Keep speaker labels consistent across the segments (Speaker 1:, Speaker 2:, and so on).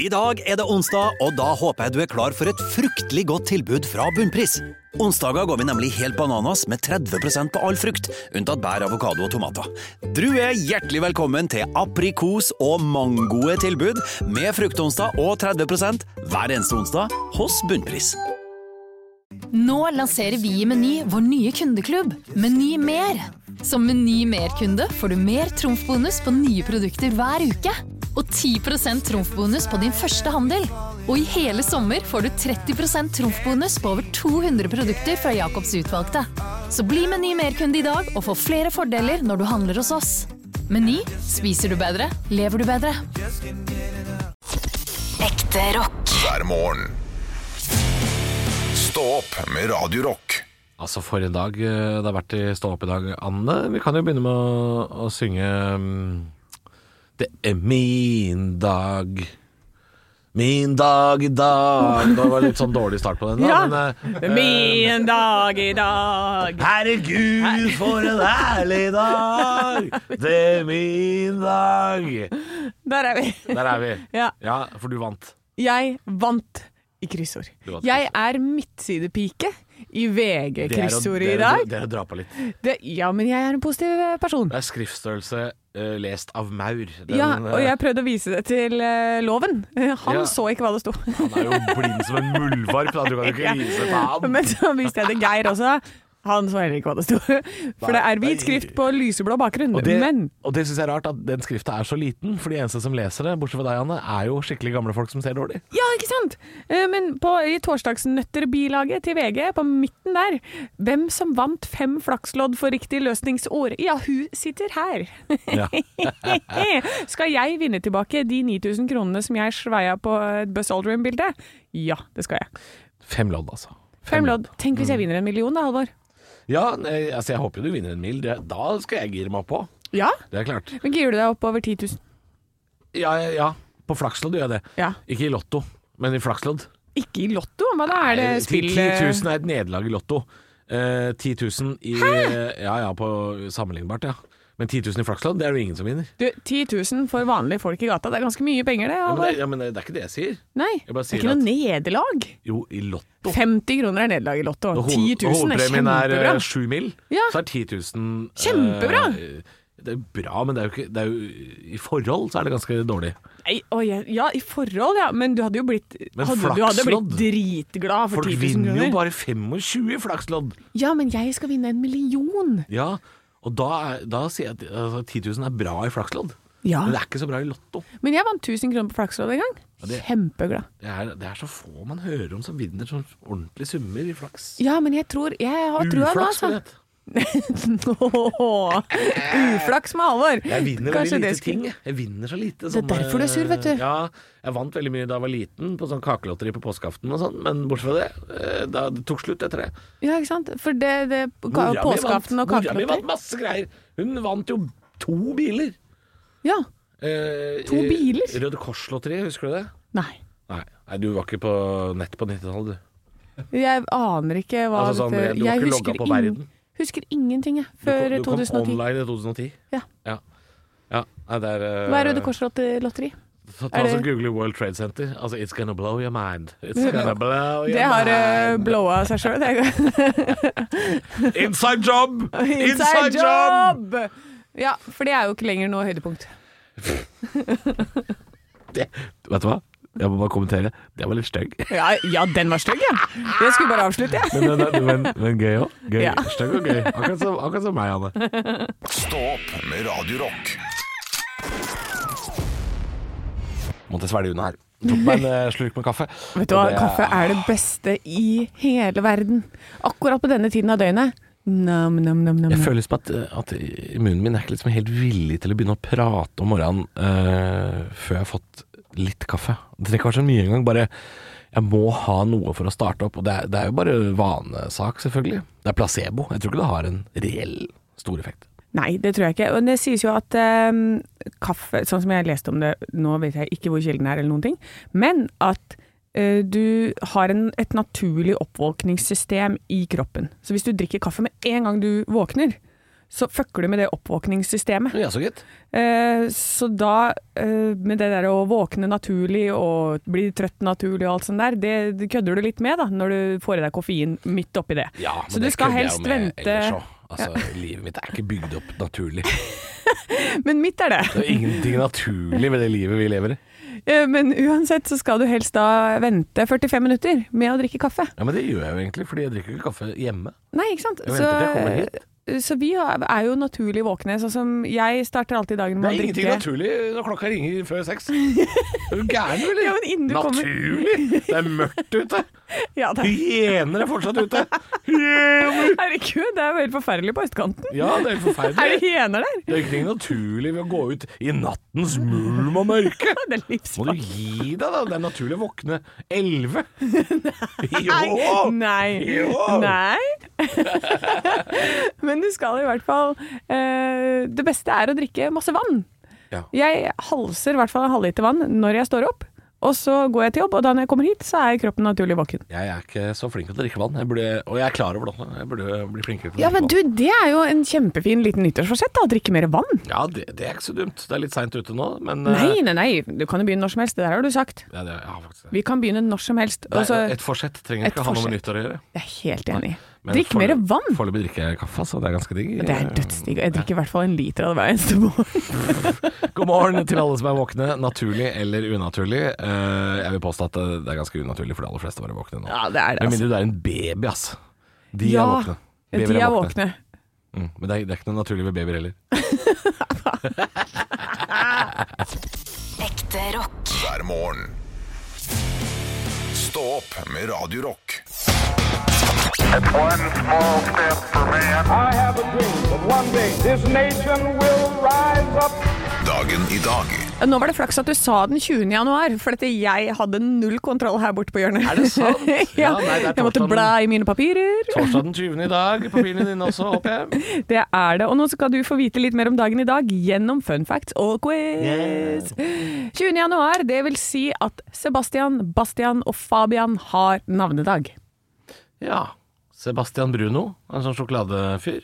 Speaker 1: I dag er det onsdag, og da håper jeg du er klar for et fruktelig godt tilbud fra Bunnpris. Onsdager går vi nemlig helt bananas med 30 på all frukt, unntatt bær, avokado og tomater. Du er hjertelig velkommen til aprikos- og mangoe tilbud med fruktonsdag og 30 hver eneste onsdag hos Bunnpris.
Speaker 2: Nå lanserer vi i Meny vår nye kundeklubb, Meny Mer. Som Meny Mer-kunde får du mer trumfbonus på nye produkter hver uke. Og 10 trumfbonus på din første handel. Og i hele sommer får du 30 trumfbonus på over 200 produkter fra Jacobs utvalgte. Så bli Meny Mer-kunde i dag og få flere fordeler når du handler hos oss. Meny spiser du bedre, lever du bedre. Ekte rock.
Speaker 3: hver morgen. Stå opp med Radio Rock.
Speaker 4: Altså, for en dag eh, det har vært i Stå opp i dag, Anne. Vi kan jo begynne med å, å synge mm, Det er min dag. Min dag i dag. Det var litt sånn dårlig start på den, da.
Speaker 5: Ja.
Speaker 4: Men, eh,
Speaker 5: Min dag i dag.
Speaker 4: Herregud, for en herlig dag! Det er min dag.
Speaker 5: Der er vi.
Speaker 4: Der er vi.
Speaker 5: Ja.
Speaker 4: Ja, for du vant.
Speaker 5: Jeg vant i kryssord.
Speaker 4: Du vant i
Speaker 5: Jeg
Speaker 4: kryssord.
Speaker 5: er midtsidepike i
Speaker 4: Det er å-
Speaker 5: VG-kryssordet
Speaker 4: det
Speaker 5: i
Speaker 4: er å-
Speaker 5: dag.
Speaker 4: Det er å dra på litt.
Speaker 5: Det, ja, men jeg er en positiv eh, person.
Speaker 4: Det er skriftstørrelse eh, lest av maur. Den,
Speaker 5: Ja, og
Speaker 4: eh,
Speaker 5: jeg prøvde å vise det til eh, loven. Han
Speaker 4: Ja.
Speaker 5: så ikke hva det sto.
Speaker 4: Han er jo blind som en muldvarp, da. Du kan jo ikke vise det til ham.
Speaker 5: Men så viste jeg det Geir også. Han så heller ikke hva det sto. For det er hvit
Speaker 4: Nei.
Speaker 5: skrift på lyseblå bakgrunn.
Speaker 4: Og det,
Speaker 5: Men
Speaker 4: og det syns jeg er rart at den skrifta er så liten, for de eneste som leser det, bortsett fra deg, Anne, er jo skikkelig gamle folk som ser dårlig.
Speaker 5: Ja, ikke sant? Eh, Men på, i torsdagsnøtter-bilaget til VG, på midten der Hvem som vant fem flakslodd for riktig løsningsord? Ja, hun sitter her.
Speaker 4: Ja.
Speaker 5: Skal jeg vinne tilbake de 9000 kronene som jeg sveia på et Buzz Aldrin-bilde? Ja, det skal jeg.
Speaker 4: Fem lodd, altså.
Speaker 5: Fem lodd. Tenk hvis jeg
Speaker 4: Mm.
Speaker 5: vinner en million, da, Halvor.
Speaker 4: Ja, nei, altså jeg håper jo du vinner en mil. Det, da skal jeg gire meg på.
Speaker 5: Ja?
Speaker 4: Det er klart.
Speaker 5: Men girer du deg opp over 10 000?
Speaker 4: Ja, ja, ja. På flakslodd gjør jeg det.
Speaker 5: Ja.
Speaker 4: Ikke i lotto, men i flakslodd.
Speaker 5: Ikke i lotto, hva da? Er det
Speaker 4: Eh, ti-
Speaker 5: spill...
Speaker 4: 10 000 er et nederlag i lotto. Eh, 10 000 i Ja ja, på sammenlignbart, ja. Men 10 000 i flakslodd, det er det jo ingen som vinner.
Speaker 5: Du, 10 000 for vanlige folk i gata, det er ganske mye penger det,
Speaker 4: Ja, men,
Speaker 5: Halvor.
Speaker 4: det, ja, men det er ikke det jeg sier.
Speaker 5: Nei,
Speaker 4: jeg
Speaker 5: det
Speaker 4: bare
Speaker 5: er
Speaker 4: sier
Speaker 5: ikke noe nederlag.
Speaker 4: Jo, i lotto.
Speaker 5: 50 kroner er nederlag i Lotto.
Speaker 4: Når
Speaker 5: 10 000 er
Speaker 4: hovedpremien er
Speaker 5: kjempebra.
Speaker 4: eh, sju mil,
Speaker 5: Ja.
Speaker 4: så er 10 000 eh,
Speaker 5: Kjempebra.
Speaker 4: det er jo bra, men det er jo ikke det er jo, I forhold så er det ganske dårlig.
Speaker 5: Nei, å, ja, ja, i forhold, ja. Men du hadde jo blitt,
Speaker 4: Men
Speaker 5: hadde, du hadde blitt
Speaker 4: flakslodd.
Speaker 5: dritglad for
Speaker 4: Folk
Speaker 5: 10
Speaker 4: vinner
Speaker 5: 000
Speaker 4: jo
Speaker 5: kroner.
Speaker 4: bare 25 i flakslodd.
Speaker 5: Ja, men jeg skal vinne en million.
Speaker 4: Ja, og da, er- da sier jeg at altså, 10 000 er bra i flakslodd,
Speaker 5: Ja.
Speaker 4: men det er ikke så bra i lotto.
Speaker 5: Men jeg vant 1000 kroner på flakslodd en gang.
Speaker 4: Ja, det-
Speaker 5: Kjempeglad.
Speaker 4: Det er, det er så få man hører om som vinner sånn ordentlige summer i flaks.
Speaker 5: Ja, men jeg tror Jeg har trua nå,
Speaker 4: Uflaks,
Speaker 5: altså.
Speaker 4: vet du.
Speaker 5: Åh, Uflaks med alvor.
Speaker 4: Jeg vinner
Speaker 5: Kanskje
Speaker 4: veldig lite
Speaker 5: det
Speaker 4: ting.
Speaker 5: skulle-
Speaker 4: jeg. Jeg vinner så lite. sånn, eh,
Speaker 5: Det er derfor du er sur, vet du.
Speaker 4: Ja, jeg vant veldig mye da jeg var liten, på sånn kakelotteri på påskeaften og sånn, men bortsett fra det, eh, da det tok slutt etter det.
Speaker 5: Ja, ikke sant. For det, det
Speaker 4: Mora mi
Speaker 5: Påskeaften
Speaker 4: vant-
Speaker 5: og
Speaker 4: Mora mi
Speaker 5: kakelotter.
Speaker 4: vant masse greier. Hun vant jo to biler.
Speaker 5: Ja.
Speaker 4: Eh,
Speaker 5: To
Speaker 4: i
Speaker 5: biler?
Speaker 4: Røde Kors-lotteriet, husker du det?
Speaker 5: Nei.
Speaker 4: Nei, nei, du var ikke på nett på 90-tallet, du.
Speaker 5: Jeg aner ikke hva
Speaker 4: Altså, sånn,
Speaker 5: dette-
Speaker 4: du var
Speaker 5: Jeg
Speaker 4: ikke
Speaker 5: husker,
Speaker 4: logga på
Speaker 5: ing-
Speaker 4: verden.
Speaker 5: husker ingenting, jeg.
Speaker 4: Du kom-
Speaker 5: Før
Speaker 4: du kom
Speaker 5: 2010.
Speaker 4: online i 2010.
Speaker 5: Ja.
Speaker 4: ja. Ja, nei, det er eh,
Speaker 5: Hva er Røde Kors-lotteri?
Speaker 4: Ta,
Speaker 5: Er
Speaker 4: ta
Speaker 5: det-
Speaker 4: og Google World Trade Center. Altså, it's gonna blow your mind. It's gonna blow your
Speaker 5: Det har uh,
Speaker 4: mind.
Speaker 5: blowa seg sjøl.
Speaker 4: Inside job! Inside job!
Speaker 5: Ja, for det er jo ikke lenger noe høydepunkt.
Speaker 4: Det, vet du hva? Jeg må bare kommentere. Det var litt stygg.
Speaker 5: Ja, ja den var stygg, ja. Jeg skulle bare avslutte, jeg.
Speaker 4: Men, men, men, men gøy òg. Gøy.
Speaker 5: Ja.
Speaker 4: Stygg og gøy. Akkurat som, akkurat som meg, Anne.
Speaker 3: Stå opp med Radio Rock.
Speaker 4: Måtte svelge unna her. Tok meg en eh, slurk med kaffe.
Speaker 5: Vet du hva,
Speaker 4: Og det-
Speaker 5: kaffe er det beste i hele verden. Akkurat på denne tiden av døgnet. Nam, nam, nam, nam.
Speaker 4: Jeg
Speaker 5: nam.
Speaker 4: føler liksom at, at munnen min er ikke liksom helt villig til å begynne å prate om morgenen eh, før jeg har fått litt kaffe. Det trenger ikke være så mye engang. Bare jeg må ha noe for å starte opp. Og det er, det er jo bare vanesak, selvfølgelig. Det er placebo. Jeg tror ikke det har en reell stor effekt.
Speaker 5: Nei, det tror jeg ikke. Og det sies jo at ehm, kaffe, sånn som jeg leste om det, nå vet jeg ikke hvor kilden er eller noen ting, men at eh, du har en, et naturlig oppvåkningssystem i kroppen. Så hvis du drikker kaffe med en gang du våkner, så fucker du med det oppvåkningssystemet.
Speaker 4: Ja, så gitt.
Speaker 5: Eh, så da, eh, med det der å våkne naturlig og bli trøtt naturlig og alt sånt der, det, det kødder du litt med da, når du får i deg koffein midt oppi det.
Speaker 4: Ja, men
Speaker 5: så du
Speaker 4: det
Speaker 5: skal
Speaker 4: kødder jeg jo
Speaker 5: helst
Speaker 4: med
Speaker 5: vente
Speaker 4: ellers også. Altså, Livet mitt er ikke bygd opp naturlig.
Speaker 5: Men mitt er det.
Speaker 4: Det er ingenting naturlig ved det livet vi lever i.
Speaker 5: Eh, Men uansett så skal du helst da vente 45 minutter med å drikke kaffe.
Speaker 4: Ja, Men det gjør jeg jo egentlig, fordi jeg drikker ikke kaffe hjemme.
Speaker 5: Nei, ikke sant?
Speaker 4: Jeg venter til jeg kommer hit.
Speaker 5: så vi har- er jo naturlig våkne. Sånn som jeg starter alltid dagen
Speaker 4: Det
Speaker 5: med å
Speaker 4: er
Speaker 5: drikke
Speaker 4: ingenting naturlig når klokka ringer før seks. Er du gæren, eller?
Speaker 5: Ja, men innen du kommer-
Speaker 4: naturlig? Det er mørkt ute.
Speaker 5: Ja, det er,
Speaker 4: Hyener er fortsatt ute. Hyener!
Speaker 5: herregud, det er jo helt forferdelig på østkanten.
Speaker 4: Ja, det er helt
Speaker 5: Er det
Speaker 4: forferdelig.
Speaker 5: hyener der?
Speaker 4: Det er ingenting naturlig ved å gå ut i nattens mulm og mørke.
Speaker 5: Det er
Speaker 4: Må du
Speaker 5: livsfarlig.
Speaker 4: gi deg, da? Det er naturlig å våkne elleve.
Speaker 5: Nei.
Speaker 4: Jo!
Speaker 5: Nei.
Speaker 4: Jo!
Speaker 5: Nei. Men du skal i hvert fall eh, Det beste er å drikke masse vann.
Speaker 4: Ja.
Speaker 5: Jeg halser i hvert fall en halvliter vann når jeg står opp. Og så går jeg til jobb, og da når jeg kommer hit, så er kroppen naturlig våken.
Speaker 4: Jeg er ikke så flink til å drikke vann, jeg burde, og jeg er klar over det også. Jeg burde bli flinkere til å
Speaker 5: Ja,
Speaker 4: drikke
Speaker 5: men du, det er jo en kjempefin liten nyttårsforsett, da. Å drikke mer vann.
Speaker 4: vann. Ja, det, det er ikke så dumt. Det er litt seint ute nå, men eh,
Speaker 5: Nei, nei, nei. Du kan jo begynne når som helst. Det der har du sagt.
Speaker 4: Ja, det, ja, faktisk, det.
Speaker 5: Vi kan begynne når som helst.
Speaker 4: Det
Speaker 5: Og så
Speaker 4: er, et forsett trenger
Speaker 5: et
Speaker 4: ikke ha noe med
Speaker 5: forsett.
Speaker 4: nyttår å gjøre.
Speaker 5: Jeg er helt enig.
Speaker 4: Men
Speaker 5: Drikk
Speaker 4: for-
Speaker 5: mer vann.
Speaker 4: Foreløpig drikker jeg kaffe, så det er ganske digg.
Speaker 5: Det er dødsdigg. og Jeg drikker i hvert fall en liter av det hver eneste morgen.
Speaker 4: God morgen til alle som er våkne, naturlig eller unaturlig. Eh, jeg vil påstå at det er ganske unaturlig for de aller fleste å være våkne nå.
Speaker 5: Ja, det er det.
Speaker 4: Med
Speaker 5: Altså.
Speaker 4: mindre du er en baby, ass. De
Speaker 5: Ja,
Speaker 4: er våkne.
Speaker 5: De
Speaker 4: Babyer
Speaker 5: er våkne.
Speaker 4: Mm, men det er, det er ikke noe naturlig ved babyer heller.
Speaker 2: Ekte rock.
Speaker 3: hver morgen. Stå opp med Radio Rock.
Speaker 6: It's one small step for man. I have a dream that one day this nation will rise up.
Speaker 3: Dagen i dag
Speaker 5: Nå var det flaks at du sa den 20. januar, for at jeg hadde null kontroll her borte på hjørnet.
Speaker 4: Er det sant? Ja,
Speaker 5: ja,
Speaker 4: nei, det er
Speaker 5: jeg måtte
Speaker 4: torsdagen.
Speaker 5: bla i mine papirer.
Speaker 4: Torsdag den 20. i dag. Papirene dine også, håper jeg.
Speaker 5: Det er det. Og nå skal du få vite litt mer om dagen i dag gjennom fun facts og quiz. 20. januar, det vil si at Sebastian, Bastian og Fabian har navnedag.
Speaker 4: Ja. Sebastian Bruno, en sånn sjokoladefyr.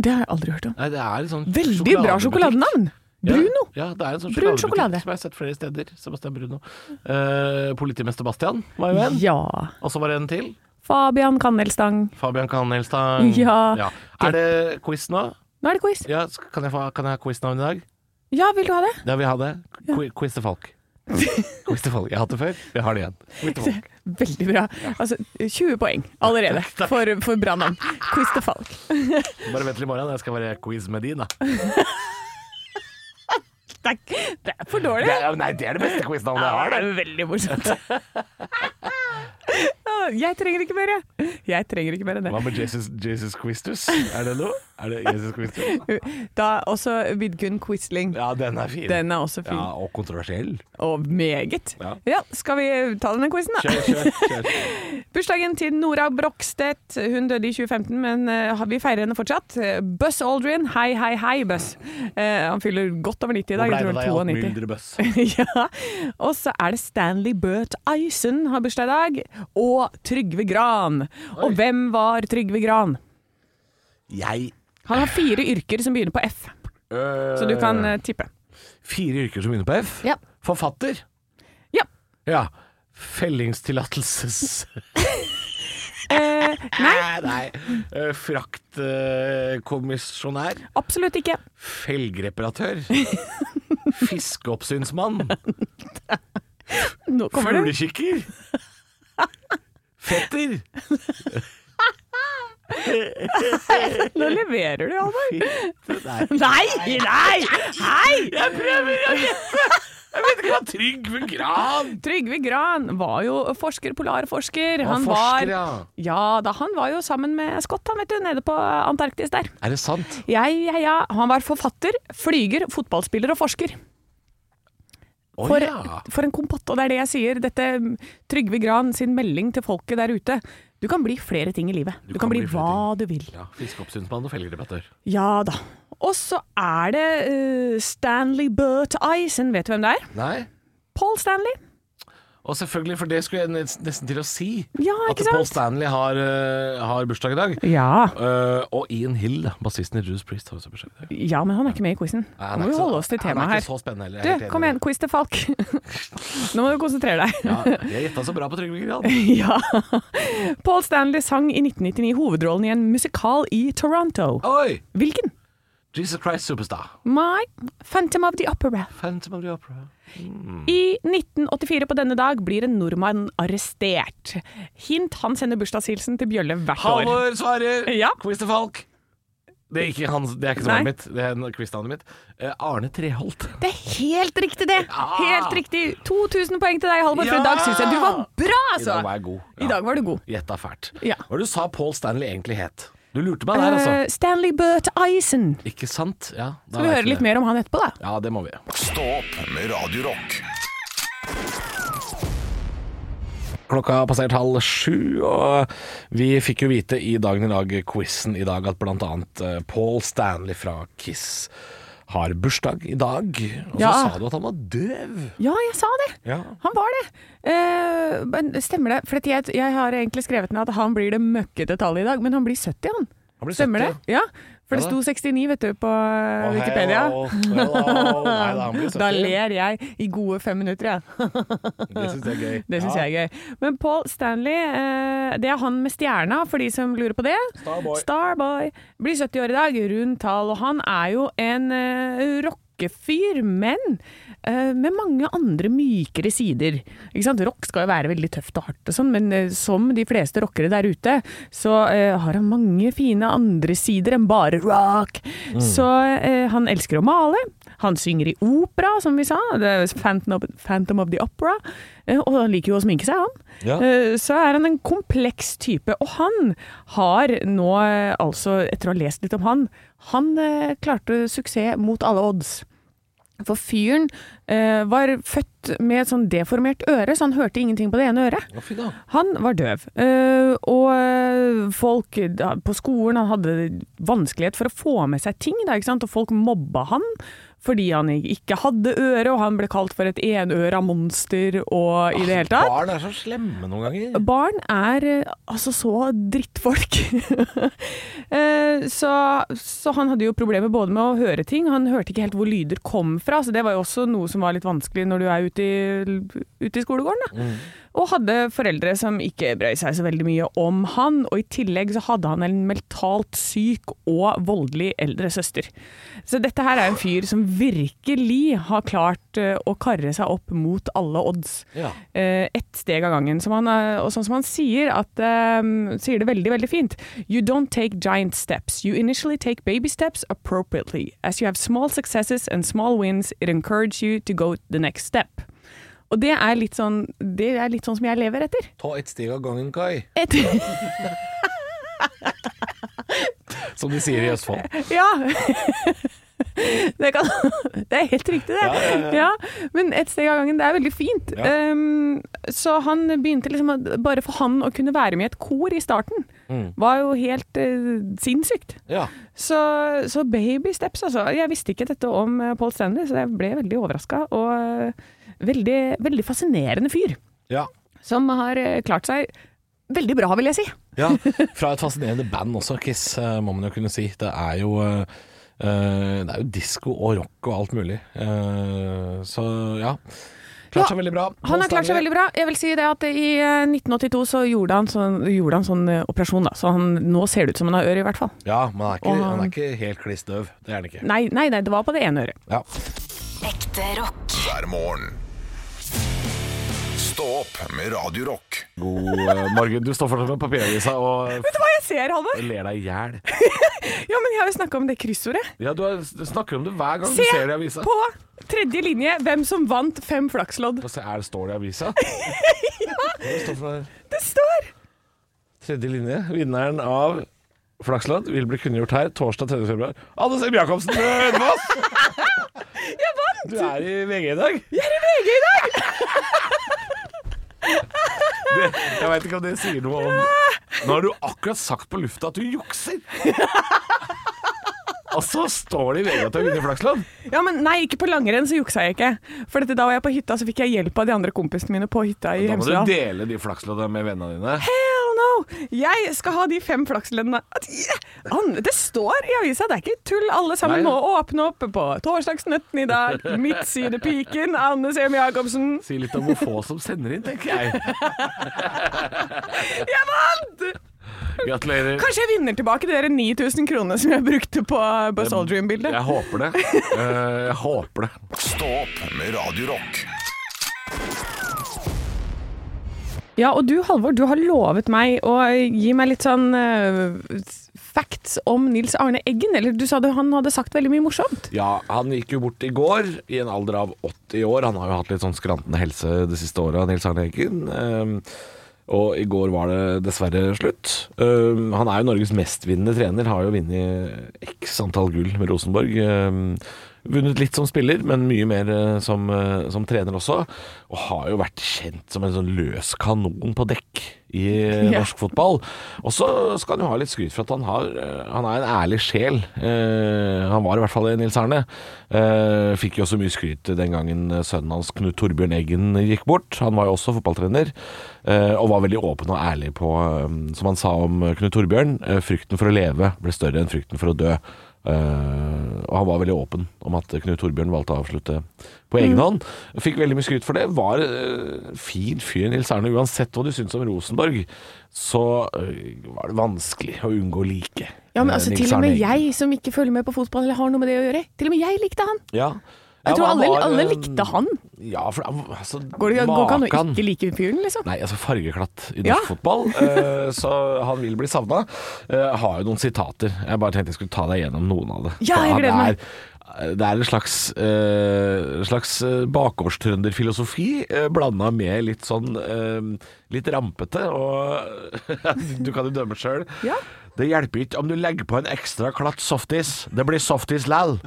Speaker 5: Det har jeg aldri hørt om.
Speaker 4: Nei, det er en sånn
Speaker 5: Veldig bra
Speaker 4: sjokoladebutikk.
Speaker 5: sjokoladenavn!
Speaker 4: Ja,
Speaker 5: Bruno.
Speaker 4: Ja, det er en sånn
Speaker 5: Brun
Speaker 4: sjokoladebutikk
Speaker 5: sjokolade.
Speaker 4: Som jeg har sett flere steder. Sebastian Bruno. Eh, politimester Bastian var jo en.
Speaker 5: Ja.
Speaker 4: Og så var det en til.
Speaker 5: Fabian Kannelstang.
Speaker 4: Fabian Kanelstang.
Speaker 5: Ja.
Speaker 4: Er det quiz nå?
Speaker 5: Nå er det quiz.
Speaker 4: Ja, s- kan jeg, få, kan jeg ha quiznavn i dag?
Speaker 5: Ja, vil du ha det?
Speaker 4: Ja, vi har det. Qui- Quiz til folk. quiz til folk. Jeg har hatt det før, vi har det igjen. Quiz til folk.
Speaker 5: Veldig bra. Altså, 20 poeng allerede for, for bra navn. Quiz til Falk.
Speaker 4: Bare vent til i morgen, jeg skal være quiz med din, da.
Speaker 5: Det er, det er for dårlig.
Speaker 4: Det er, nei, det er det beste quiznavnet jeg har.
Speaker 5: Ja, det er veldig morsomt. Ja, jeg trenger ikke mer, jeg. Jeg trenger ikke mer enn
Speaker 4: Hva
Speaker 5: det.
Speaker 4: med Jesus, Jesus Quistus? Er det noe? Er det Jesus Quistus?
Speaker 5: Da også Vidkun Quisling.
Speaker 4: Ja, den er fin.
Speaker 5: Den er også fin.
Speaker 4: Ja, og kontroversiell.
Speaker 5: Og meget.
Speaker 4: Ja.
Speaker 5: Ja, skal vi ta denne quizen, da?
Speaker 4: Kjør, kjør, kjør.
Speaker 5: Bursdagen til Nora Brokstedt. Hun døde i 2015, men eh, vi feirer henne fortsatt. Eh, Buzz Aldrin, hei, hei, hei, Buzz. Eh, han fyller godt over 90 i dag.
Speaker 4: Nå
Speaker 5: Jeg
Speaker 4: ble det
Speaker 5: tror han
Speaker 4: deg alt
Speaker 5: er 92.
Speaker 4: myldrebøss.
Speaker 5: ja. Og så er det Stanley Burt Eisen har bursdag i dag. Og Trygve Gran. Og hvem var Trygve Gran?
Speaker 4: Jeg
Speaker 5: Han har fire yrker som begynner på F,
Speaker 4: øh,
Speaker 5: så du kan eh, tippe.
Speaker 4: Fire yrker som begynner på F.
Speaker 5: Ja.
Speaker 4: Forfatter.
Speaker 5: Ja.
Speaker 4: Ja. Fellingstillatelse
Speaker 5: Eh,
Speaker 4: Nei. Nei. Eh, Fraktkommisjonær.
Speaker 5: absolutt ikke.
Speaker 4: Felgreparatør. Fiskeoppsynsmann.
Speaker 5: Nå kommer det.
Speaker 4: Fuglekikker. Fetter.
Speaker 5: Nå leverer du, Halvor.
Speaker 4: Nei.
Speaker 5: Nei, nei, hei!
Speaker 4: Jeg prøver å gjette! Jeg vet ikke hva Trygve Gran
Speaker 5: Trygve Gran var jo forsker, polarforsker.
Speaker 4: Han
Speaker 5: Han
Speaker 4: forsker,
Speaker 5: var
Speaker 4: ja.
Speaker 5: Ja da, han var jo sammen med Scott, han vet du, nede på Antarktis der.
Speaker 4: Er det sant?
Speaker 5: Ja, ja, ja. Han var forfatter, flyger, fotballspiller og forsker.
Speaker 4: Å
Speaker 5: For,
Speaker 4: ja.
Speaker 5: for en kompott, og det er det jeg sier. Dette mm, Trygve Gran sin melding til folket der ute. Du kan bli flere ting i livet. Du, kan,
Speaker 4: kan
Speaker 5: bli,
Speaker 4: bli flere
Speaker 5: hva du vil.
Speaker 4: ja Fiskeoppsynsmann og felgreparatør.
Speaker 5: Ja da. Og så er det eh, Stanley Burt Eisen. Vet du hvem det er?
Speaker 4: Nei?
Speaker 5: Paul Stanley.
Speaker 4: Å Og selvfølgelig, for det skulle jeg nes- nesten til å si,
Speaker 5: Ja,
Speaker 4: at
Speaker 5: ikke sant?
Speaker 4: Paul Stanley har, eh, har bursdag i dag.
Speaker 5: Ja.
Speaker 4: Eh, og Ian Hill, da, bassisten i Judas Priest, har også bursdag i dag.
Speaker 5: ja, men han er ikke med i quizen.
Speaker 4: Nei,
Speaker 5: Nå
Speaker 4: han er
Speaker 5: må vi
Speaker 4: ikke så-
Speaker 5: holde oss til
Speaker 4: Han
Speaker 5: temaet
Speaker 4: er
Speaker 5: her.
Speaker 4: ikke så spennende heller. jeg er
Speaker 5: Du,
Speaker 4: helt enig
Speaker 5: kom
Speaker 4: med
Speaker 5: igjen, quiz til Falk. Nå må du konsentrere deg.
Speaker 4: deg. Ja, jeg gjetta så bra på Trygve Gran.
Speaker 5: Ja. Paul Stanley sang i 1999 hovedrollen i en musikal i Toronto.
Speaker 4: Oi!
Speaker 5: Hvilken?
Speaker 4: Jesus Christ Superstar.
Speaker 5: My Phantom of the Opera.
Speaker 4: Phantom of the Opera.
Speaker 5: I 1984 på denne dag blir en nordmann arrestert. Hint han sender bursdagshilsen til Bjølle hvert år.
Speaker 4: Halvor svarer!
Speaker 5: Ja.
Speaker 4: Quiz til Falk. Det er ikke, hans, det er ikke
Speaker 5: Nei.
Speaker 4: svaret mitt, det er en quiznavnet mitt. Eh, Arne Treholt.
Speaker 5: Det er helt riktig, det! Helt riktig. 2000 poeng til deg, Halvor,
Speaker 4: Ja!
Speaker 5: for i dag syns jeg du var bra,
Speaker 4: I
Speaker 5: altså!
Speaker 4: dag var jeg god.
Speaker 5: I dag var du god.
Speaker 4: Gjetta fælt.
Speaker 5: Ja.
Speaker 4: Hva var det du sa Paul Stanley egentlig het? Du lurte meg der,
Speaker 5: Eh,
Speaker 4: altså.
Speaker 5: Stanley Burt Eisen.
Speaker 4: Ikke sant? Ja, da
Speaker 5: Eh, Skal vi
Speaker 4: vet
Speaker 5: høre litt mer om han etterpå, da?
Speaker 4: Ja, det må vi.
Speaker 3: Stå opp med Radio Rock.
Speaker 4: Klokka har passert halv sju, og vi fikk jo vite i Dagen i dag-quizen i dag at blant annet eh, Paul Stanley fra Kiss har bursdag i dag. Og så
Speaker 5: Ja.
Speaker 4: sa du at han var døv.
Speaker 5: Ja, jeg sa det.
Speaker 4: Ja.
Speaker 5: Han var det. Eh, men stemmer det? For at jeg, jeg har egentlig skrevet ned at han blir det møkkete tallet i dag, men han blir 70, han.
Speaker 4: Han blir
Speaker 5: stemmer
Speaker 4: 70,
Speaker 5: det? Ja. For det
Speaker 4: Ja da.
Speaker 5: sto 69, vet du, på eh, Wikipedia.
Speaker 4: Hello, hello. Nei, da, han blir 70.
Speaker 5: Da ler jeg i gode fem minutter, jeg.
Speaker 4: Det syns jeg er gøy.
Speaker 5: Det syns jeg er gøy. Men Paul Stanley, eh, det er han med stjerna, for de som lurer på det.
Speaker 4: Starboy.
Speaker 5: Starboy. Blir 70 år i dag, rundt tall. Og han er jo en eh, rockefyr, men eh, med mange andre mykere sider. Ikke sant? Rock skal jo være veldig tøft og hardt og sånn, men eh, som de fleste rockere der ute, så eh, har han mange fine andre sider enn bare rock.
Speaker 4: Mm.
Speaker 5: Så eh, han elsker å male. Han synger i opera, som vi sa. Det er Phantom of, Phantom of the Opera. Eh, og han liker jo å sminke seg, han.
Speaker 4: Ja.
Speaker 5: Eh, så er han en kompleks type. Og han har nå, eh, altså etter å ha lest litt om han, han eh, klarte suksess mot alle odds. For fyren eh, var født med et sånn deformert øre, så han hørte ingenting på det ene øret.
Speaker 4: Å, fy da.
Speaker 5: Han var døv, eh, og eh, folk da, på skolen han hadde vanskelighet for å få med seg ting, da, ikke sant? og folk mobba han fordi han ikke hadde øre, og han ble kalt for et enøra monster og i det hele tatt.
Speaker 4: Barn er så slemme noen ganger.
Speaker 5: Barn er eh, altså så drittfolk. Eh, så, så han hadde jo problemer både med å høre ting, han hørte ikke helt hvor lyder kom fra, så det var jo også noe som var litt vanskelig når du er ute i, ute i skolegården. Da. Og hadde foreldre som ikke brøy seg så veldig mye om han, og i tillegg så hadde han en mentalt syk og voldelig eldre søster. Så dette her er en fyr som virkelig har klart eh, å karre seg opp mot alle odds
Speaker 4: Ja.
Speaker 5: eh, ett steg av gangen. Som han, eh, og sånn som han sier, at, eh, sier det veldig, veldig fint. You don't take giant steps. You initially take baby steps appropriately. As you have small successes and small wins, it encourages you to go the next step. Og det er litt sånn, det er litt sånn som jeg lever etter.
Speaker 4: Ta et steg av gangen, Kai,
Speaker 5: etter.
Speaker 4: som de sier i Østfold.
Speaker 5: Ja. Det, kan, det er helt riktig, det. Ja, men ett steg av gangen. Det er veldig fint. Um, så han begynte liksom å- Bare for han å kunne være med i et kor i starten, var jo helt eh, sinnssykt.
Speaker 4: Ja.
Speaker 5: Så, så baby steps, altså. Jeg visste ikke dette om eh, Paul Stanley, så jeg ble veldig overraska. Og eh, veldig, veldig fascinerende fyr.
Speaker 4: ja.
Speaker 5: Som har eh, klart seg veldig bra, vil jeg si.
Speaker 4: Ja, fra et fascinerende band også, Kiss, eh, må man jo kunne si. Det er jo eh, eh, Det er jo disko og rock og alt mulig. Eh, Så ja. Klart
Speaker 5: Ja,
Speaker 4: seg veldig bra.
Speaker 5: Han har klart seg
Speaker 4: Stanley.
Speaker 5: veldig bra. Jeg vil si det at I eh, 1982 så gjorde han sånn, gjorde han sånn eh, operasjon, da. så han, nå ser det ut som han har øre, i hvert fall.
Speaker 4: Ja, men han er ikke,
Speaker 5: Og
Speaker 4: han
Speaker 5: han-
Speaker 4: er ikke helt kliss døv. Det er han ikke.
Speaker 5: Nei, nei, nei, det var på det ene øret.
Speaker 4: Ja.
Speaker 2: Ekte rock.
Speaker 3: hver morgen. Stå opp med Radio Rock.
Speaker 4: God eh, morgen. Du står fortsatt med papiravisa og
Speaker 5: Hva jeg ser, Halvor?
Speaker 4: ler deg i hjel.
Speaker 5: Ja, men jeg har jo snakka om det kryssordet.
Speaker 4: Ja, du har- snakker om det hver gang du
Speaker 5: Se
Speaker 4: ser det i avisa.
Speaker 5: på tredje linje hvem som vant fem flakslodd.
Speaker 4: Få se, er det står det i avisa? Hva er det står for noe?
Speaker 5: Det står!
Speaker 4: Tredje linje. Vinneren av Flakslodd vil bli kunngjort her torsdag 3. februar. Anne Sem Jacobsen fra Hønefoss! Jeg vant! Du er i VG i dag. Jeg er i VG i dag! Det, jeg veit ikke om det sier noe om Nå har du akkurat sagt på lufta at du jukser! Og så står det i VG at du har vunnet Flakslodd!
Speaker 5: Ja, men nei, ikke på langrenn, så juksa jeg ikke. For dette, da var jeg på hytta, så fikk jeg hjelp av de andre kompisene mine på hytta i
Speaker 4: Da må du
Speaker 5: Hemsedal.
Speaker 4: dele de flaksloddene med vennene dine.
Speaker 5: Hell no! Jeg skal ha de fem flaksleddene. At- Ja, an- Det står i avisa, det er ikke tull. Alle sammen
Speaker 4: Nei,
Speaker 5: må
Speaker 4: ja.
Speaker 5: åpne opp på torsdagsnøtten i dag. Midtsidepiken, Anne Sem Jacobsen.
Speaker 4: Si litt om hvor få som sender inn, tenker jeg.
Speaker 5: Jeg vant!
Speaker 4: Gratulerer.
Speaker 5: Kanskje jeg vinner tilbake de der 9000 kronene som jeg brukte på Buzz Aldrin-bildet.
Speaker 4: Jeg håper det. Eh, Jeg håper det.
Speaker 3: Stå opp med Radio Rock.
Speaker 5: Ja, og du Halvor, du har lovet meg å gi meg litt sånn eh, facts om Nils Arne Eggen. Eller du sa det, han hadde sagt veldig mye morsomt.
Speaker 4: Ja, han gikk jo bort i går i en alder av 80 år. Han har jo hatt litt sånn skrantende helse det siste året, Nils Arne Eggen. Ehm, og i går var det dessverre slutt. Ehm, han er jo Norges mestvinnende trener. Har jo vunnet x antall gull med Rosenborg. Ehm, vunnet litt som spiller, men mye mer eh, som, eh, som trener også. Og har jo vært kjent som en sånn løs kanon på dekk i eh,
Speaker 5: Ja.
Speaker 4: norsk norsk fotball. Og så skal han jo ha litt skryt for at han, har, eh, han er en ærlig sjel. Eh, han var i hvert fall det, Nils Arne. Eh, fikk jo også mye skryt den gangen sønnen hans Knut Torbjørn Eggen gikk bort. Han var jo også fotballtrener, eh, og var veldig åpen og ærlig på, eh, som han sa om Knut Torbjørn, eh, frykten for å leve ble større enn frykten for å dø. Eh, og han var veldig åpen om at Knut Torbjørn valgte å avslutte på
Speaker 5: Mm.
Speaker 4: egen hånd. Fikk veldig mye skryt for det. Var eh, fin fyr, Nils Arne. Uansett hva du syns om Rosenborg, så eh, var det vanskelig å unngå å like.
Speaker 5: Ja, men
Speaker 4: eh,
Speaker 5: altså,
Speaker 4: Nils
Speaker 5: til og
Speaker 4: Arne
Speaker 5: med
Speaker 4: Eggen.
Speaker 5: jeg som ikke følger med på fotball eller har noe med det å gjøre, til og med jeg likte han.
Speaker 4: Ja. Ja,
Speaker 5: Jeg tror
Speaker 4: han
Speaker 5: alle,
Speaker 4: var,
Speaker 5: alle
Speaker 4: eh,
Speaker 5: likte han.
Speaker 4: Ja, for han- altså,
Speaker 5: Går det går ikke an å
Speaker 4: makan.
Speaker 5: ikke like fyren, liksom?
Speaker 4: Nei, altså fargeklatt i norsk
Speaker 5: Ja.
Speaker 4: fotball. eh, så han vil bli savna. Jeg har jo noen sitater. Jeg bare tenkte jeg skulle ta deg gjennom noen av det.
Speaker 5: Ja, jeg
Speaker 4: For
Speaker 5: gleder meg.
Speaker 4: det er- Det er en slags, uh, slags eh, bakgårdstrønderfilosofi uh, blanda med litt sånn eh, litt rampete, og du kan jo dømme sjøl.
Speaker 5: Ja.
Speaker 4: Det hjelper ikke om du legger på en ekstra klatt softis. Det blir softis læll.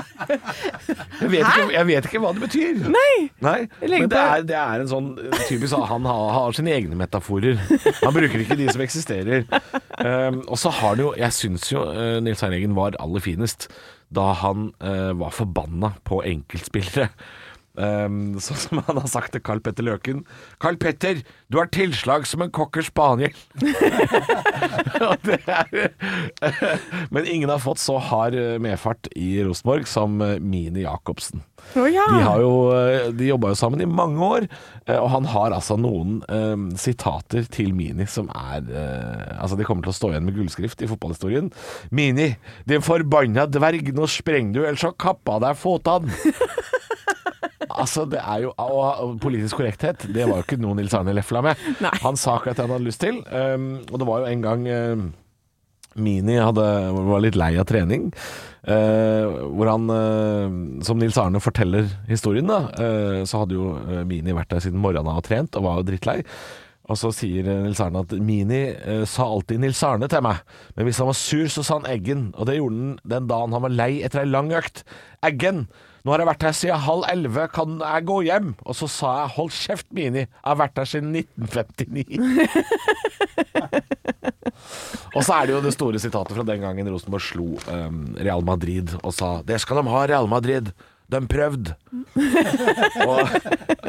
Speaker 4: Jeg vet, ikke, jeg vet ikke hva det betyr.
Speaker 5: Nei!
Speaker 4: Nei,
Speaker 5: Jeg legger
Speaker 4: men det
Speaker 5: på-
Speaker 4: er, det er en sånn eh, typisk sånn, Han har, har sine egne metaforer. Han bruker ikke de som eksisterer. Um, og så har det jo Jeg syns jo eh, Nils Arne Eggen var aller finest da han eh, var forbanna på enkeltspillere. Um, sånn som han har sagt til Carl Petter Løken. 'Carl Petter, du har tilslag som en cocker spaniel'. Og det er, men ingen har fått så hard eh, medfart i Rosenborg som eh, Mini Jacobsen.
Speaker 5: Å ja.
Speaker 4: De, har jo, eh, de jobba jo sammen i mange år, eh, og han har altså noen eh, sitater til Mini som er eh, Altså, de kommer til å stå igjen med gullskrift i fotballhistorien. Mini, din forbanna dverg, nå sprenger du, ellers så kappa deg fotan. Altså, det er jo Og og politisk korrekthet, det var jo ikke noe Nils Arne lefla med.
Speaker 5: Nei.
Speaker 4: Han sa akkurat det han hadde lyst til, ehm, og det var jo en gang ehm, Mini hadde, var litt lei av trening, eh, hvor han, eh, som Nils Arne forteller historien, da, eh, så hadde jo eh, Mini vært der siden morgenen av og trent, og var jo drittlei. Og så sier eh, Nils Arne at Mini eh, sa alltid Nils Arne til meg, men hvis han var sur, så sa han Eggen, og det gjorde han den dagen han var lei etter ei lang økt. Eggen, nå har jeg vært her siden halv elleve, kan jeg gå hjem? Og så sa jeg hold kjeft, Mini, jeg har vært her siden 1959. Og så er det jo det store sitatet fra den gangen Rosenborg slo ehm, Real Madrid og sa Det skal de ha, Real Madrid. De prøvde. og,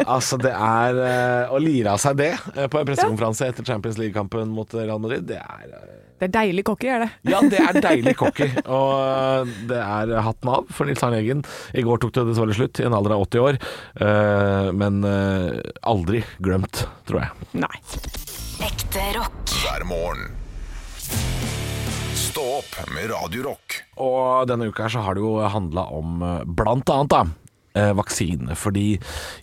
Speaker 4: altså, det er eh, Å lire av seg det eh, på en pressekonferanse etter Champions League-kampen mot eh, Real Madrid, det er eh,
Speaker 5: Det er deilig cocky, er det.
Speaker 4: ja, det er deilig cocky, og eh, det er hatten av for Nils Arne Eggen. I går tok det dessverre slutt, i en alder av 80 år, eh, men eh, aldri glemt, tror jeg.
Speaker 5: Nei.
Speaker 7: Ekte rock.
Speaker 3: hver morgen. Stå opp med Radio Rock.
Speaker 4: Og denne uka her så har det jo handla om eh, blant annet da eh, vaksine, fordi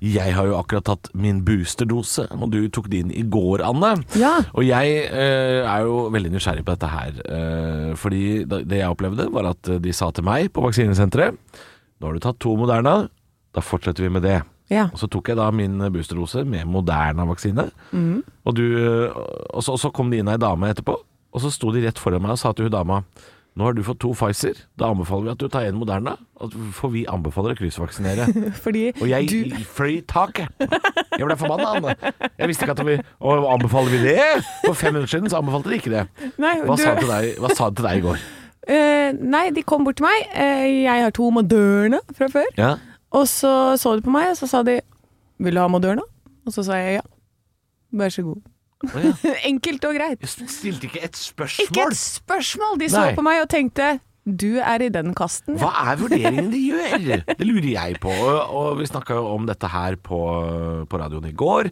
Speaker 4: jeg har jo akkurat tatt min boosterdose, og du tok din i går, Anne.
Speaker 5: Ja.
Speaker 4: Og jeg eh, er jo veldig nysgjerrig på dette her, eh, fordi da- det jeg opplevde var at eh, de sa til meg på vaksinesenteret Nå har du tatt to Moderna, da fortsetter vi med det.
Speaker 5: Ja.
Speaker 4: Og så tok jeg da min boosterdose med Moderna-vaksine. Og, du, og, så, og så kom det inn ei dame etterpå, og så sto de rett foran meg og sa til hun dama nå har du fått to Pfizer, da anbefaler vi at du tar en Moderna, og- for vi anbefaler å kryssvaksinere.
Speaker 5: Fordi
Speaker 4: Og jeg
Speaker 5: du
Speaker 4: fløy i taket. Jeg ble forbanna, Anne. Jeg visste ikke at vi Og anbefaler vi det? For fem minutter siden så anbefalte de ikke det.
Speaker 5: Nei,
Speaker 4: Hva
Speaker 5: du,
Speaker 4: sa de til deg, hva sa de til deg i går?
Speaker 5: Eh, nei, de kom bort til meg. Eh, jeg har to Moderna fra før.
Speaker 4: Ja.
Speaker 5: Og så så de på meg, og så sa de 'Vil du ha Moderna?' Og så sa jeg ja. Vær så god.
Speaker 4: Å, ja.
Speaker 5: Enkelt og greit.
Speaker 4: Jeg stilte ikke et
Speaker 5: Ikke
Speaker 4: spørsmål.
Speaker 5: et spørsmål! De så
Speaker 4: Nei.
Speaker 5: på meg og tenkte 'Du er i den kasten'.
Speaker 4: Hva er vurderingen de gjør? Det lurer jeg på. Og, og vi snakka jo om dette her på, på radioen i går,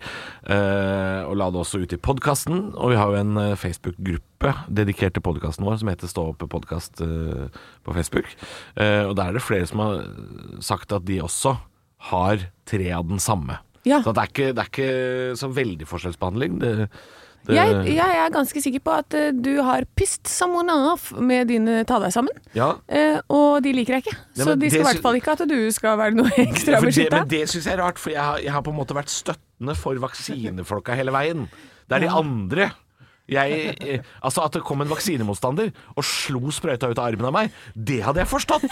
Speaker 4: eh, og la det også ut i podkasten. Og vi har jo en eh, Facebook-gruppe dedikert til podkasten vår som heter Stå opp podkast eh, på Facebook. Eh, og der er det flere som har sagt at de også har tre av den samme.
Speaker 5: Ja.
Speaker 4: Så det er, ikke, det er ikke så veldig forskjellsbehandling. Det, det,
Speaker 5: Jeg, jeg er ganske sikker på at eh, du har pissed someone off med dine ta deg sammen,
Speaker 4: ja.
Speaker 5: eh, og de liker deg ikke.
Speaker 4: Ja,
Speaker 5: så
Speaker 4: men
Speaker 5: de
Speaker 4: det
Speaker 5: skal i
Speaker 4: sy-
Speaker 5: hvert fall ikke at du skal være noe
Speaker 4: Ja,
Speaker 5: ekstra
Speaker 4: for det,
Speaker 5: beskytta.
Speaker 4: men det syns jeg er rart, for jeg har, jeg har på en måte vært støttende for vaksinefolka hele veien. Det er de andre. Jeg, eh, altså At det kom en vaksinemotstander og slo sprøyta ut av armen av meg, det hadde jeg forstått!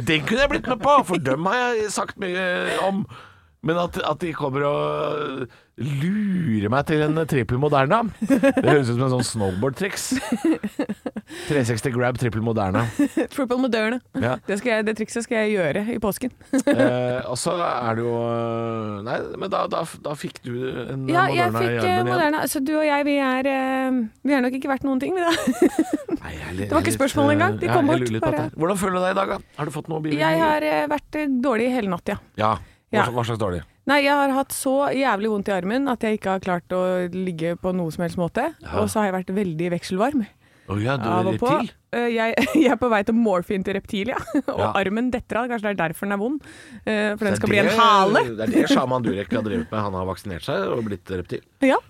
Speaker 4: Den kunne jeg blitt med på, for dem har jeg sagt mye om. Men at, at de kommer og lurer meg til en trippel Moderna Det høres ut som en sånn snowboard-triks. 360 grab, trippel Moderna.
Speaker 5: Triple Moderna.
Speaker 4: Ja.
Speaker 5: Det, skal jeg, det trikset skal jeg gjøre i påsken.
Speaker 4: Eh, og så er det jo eh, Nei, men da, da, da fikk du en
Speaker 5: Ja,
Speaker 4: eh,
Speaker 5: jeg
Speaker 4: Moderna i
Speaker 5: fikk eh,
Speaker 4: armen igjen.
Speaker 5: Moderna. Så du og jeg, vi er eh, Vi har nok ikke vært noen ting, vi da.
Speaker 4: Nei, jeg er litt-
Speaker 5: Det var ikke
Speaker 4: litt,
Speaker 5: spørsmål
Speaker 4: eh,
Speaker 5: engang. De
Speaker 4: ja,
Speaker 5: kom
Speaker 4: jeg
Speaker 5: bort,
Speaker 4: lurer litt på
Speaker 5: bare.
Speaker 4: dette her. Hvordan føler du deg i dag, da? Har du fått noe bivirkninger?
Speaker 5: Jeg har eh, vært eh, dårlig hele natt, ja.
Speaker 4: ja. Hva,
Speaker 5: Ja.
Speaker 4: hva slags dårlig?
Speaker 5: Nei, jeg har hatt så jævlig vondt i armen at jeg ikke har klart å ligge på noe som helst måte. Og så har jeg vært veldig vekselvarm
Speaker 4: Å ja, du
Speaker 5: av
Speaker 4: er
Speaker 5: og på.
Speaker 4: reptil?
Speaker 5: Eh, Jeg, jeg er på vei til morfin til reptil, ja. Og
Speaker 4: Ja.
Speaker 5: armen detter av. Kanskje det er derfor den er vond. Eh, For
Speaker 4: Det
Speaker 5: den
Speaker 4: er
Speaker 5: skal bli
Speaker 4: det-
Speaker 5: en hale.
Speaker 4: Det er det sjaman Durek har drevet med. Han har vaksinert seg og blitt reptil.
Speaker 5: Ja.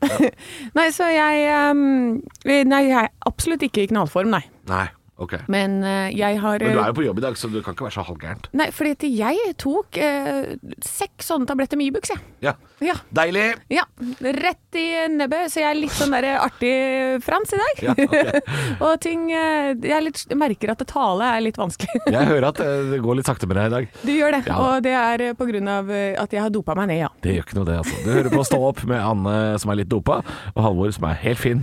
Speaker 5: Nei, så jeg ehm, Nei, jeg er absolutt ikke i knallform, nei.
Speaker 4: Nei, ok.
Speaker 5: Men eh, jeg har
Speaker 4: Men du er jo på jobb i dag, så du kan ikke være så halvgærent.
Speaker 5: Nei, fordi at jeg tok eh, seks sånne tabletter med Ibux, jeg.
Speaker 4: Ja.
Speaker 5: Ja.
Speaker 4: Deilig!
Speaker 5: Ja, rett i nebbet, så jeg er litt sånn der artig Frans i dag.
Speaker 4: Ja, ok.
Speaker 5: og ting eh, Jeg er litt, jeg merker at det tale er litt vanskelig.
Speaker 4: Jeg hører at eh, det går litt sakte med deg i dag.
Speaker 5: Du gjør det,
Speaker 4: Ja.
Speaker 5: og det er eh, på grunn av eh, at jeg har dopa meg ned, ja.
Speaker 4: Det gjør ikke noe, det, altså. Du hører på Stå opp med Anne som er litt dopa, og Halvor som er helt fin.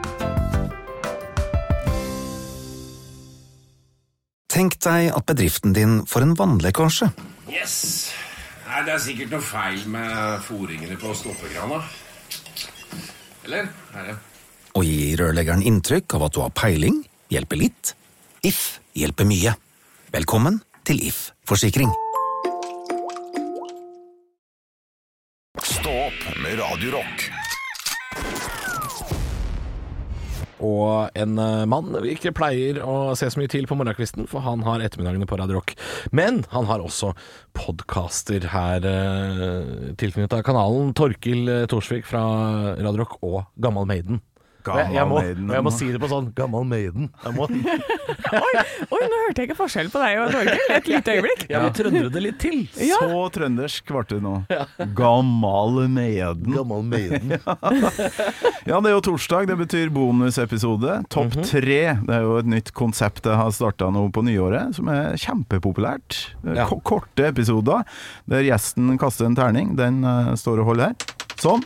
Speaker 8: Tenk deg at bedriften din får en vannlekkasje.
Speaker 9: Yes. Nei, det er sikkert noe feil med foringene på stoppekrana. Eller? Er det?
Speaker 8: Å gi rørleggeren inntrykk av at du har peiling, hjelper litt. If hjelper mye. Velkommen til If forsikring.
Speaker 3: Stå opp med Radio Rock.
Speaker 4: og en eh, mann vi ikke pleier å se så mye til på morgenkvisten, for han har ettermiddagene på Radio Rock. Men han har også podkaster her eh, tilknyttet kanalen. Torkil eh, Thorsvik fra Radio Rock og Gammal Maiden. Og jeg, jeg, må, og jeg må si det på sånn Gammal Maiden. Jeg må,
Speaker 5: Oi, nå hørte jeg ikke forskjell på deg og Torgeir et lite øyeblikk.
Speaker 4: jeg må trøndre det litt til.
Speaker 10: Så trøndersk ble det nå. Gammal Meden.
Speaker 4: Gammal Maiden.
Speaker 10: Ja, det er jo torsdag, det betyr bonusepisode. Topp tre. Det er jo et nytt konsept jeg har starta nå på nyåret, som er kjempepopulært. Eh,
Speaker 4: Ja.
Speaker 10: Ko- Korte episoder der gjesten kaster en terning. Den eh, står og holder her. Sånn.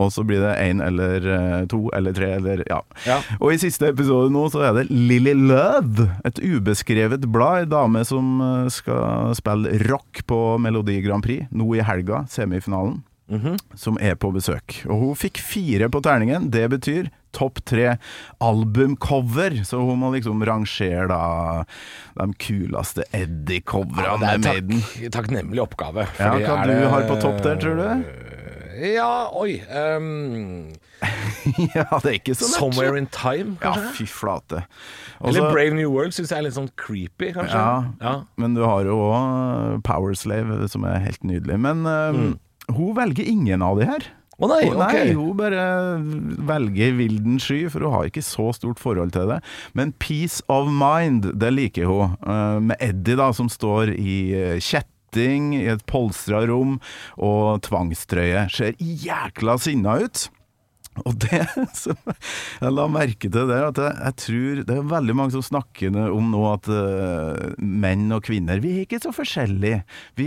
Speaker 10: Og så blir det én eller eh, to eller tre eller ja.
Speaker 4: Ja.
Speaker 10: Og i siste episode nå så er det Lilly Love, et ubeskrevet blad. En dame som eh, skal spille rock på Melodi Grand Prix nå i helga, semifinalen
Speaker 4: Mhm.
Speaker 10: som er på besøk. Og hun fikk fire på terningen. Det betyr topp tre albumcover, så hun må liksom rangere da de kuleste Eddie-coverne
Speaker 4: det
Speaker 10: med
Speaker 4: er
Speaker 10: Maiden.
Speaker 4: takk, takknemlig oppgave.
Speaker 10: Ja,
Speaker 4: fordi
Speaker 10: hva
Speaker 4: er
Speaker 10: du
Speaker 4: det-
Speaker 10: har på topp der, tror du?
Speaker 4: Ja, oi ehm,
Speaker 10: ja, det Sånn er ikke så lett.
Speaker 4: Somewhere in Time,
Speaker 10: Ja,
Speaker 4: kanskje?
Speaker 10: fy flate.
Speaker 4: Eller
Speaker 10: Også-
Speaker 4: Brave New World syns jeg er litt sånn creepy, kanskje.
Speaker 10: Ja,
Speaker 4: Ja.
Speaker 10: men du har jo òg Powerslave, som er helt nydelig. Men eh, hun velger ingen av de her.
Speaker 4: Mm. Å nei,
Speaker 10: Hun-
Speaker 4: ok.
Speaker 10: nei, hun bare velger vilden sky, for hun har ikke så stort forhold til det. Men Peace of Mind, det liker hun. Eh, Med Eddie, da, som står i eh, kjetting sitting i et polstra rom og tvangstrøye. Ser jækla sinna ut. Og det som jeg la merke til der, at jeg, jeg tror det er veldig mange som snakker om nå at eh, menn og kvinner Vi er ikke så forskjellige. Vi,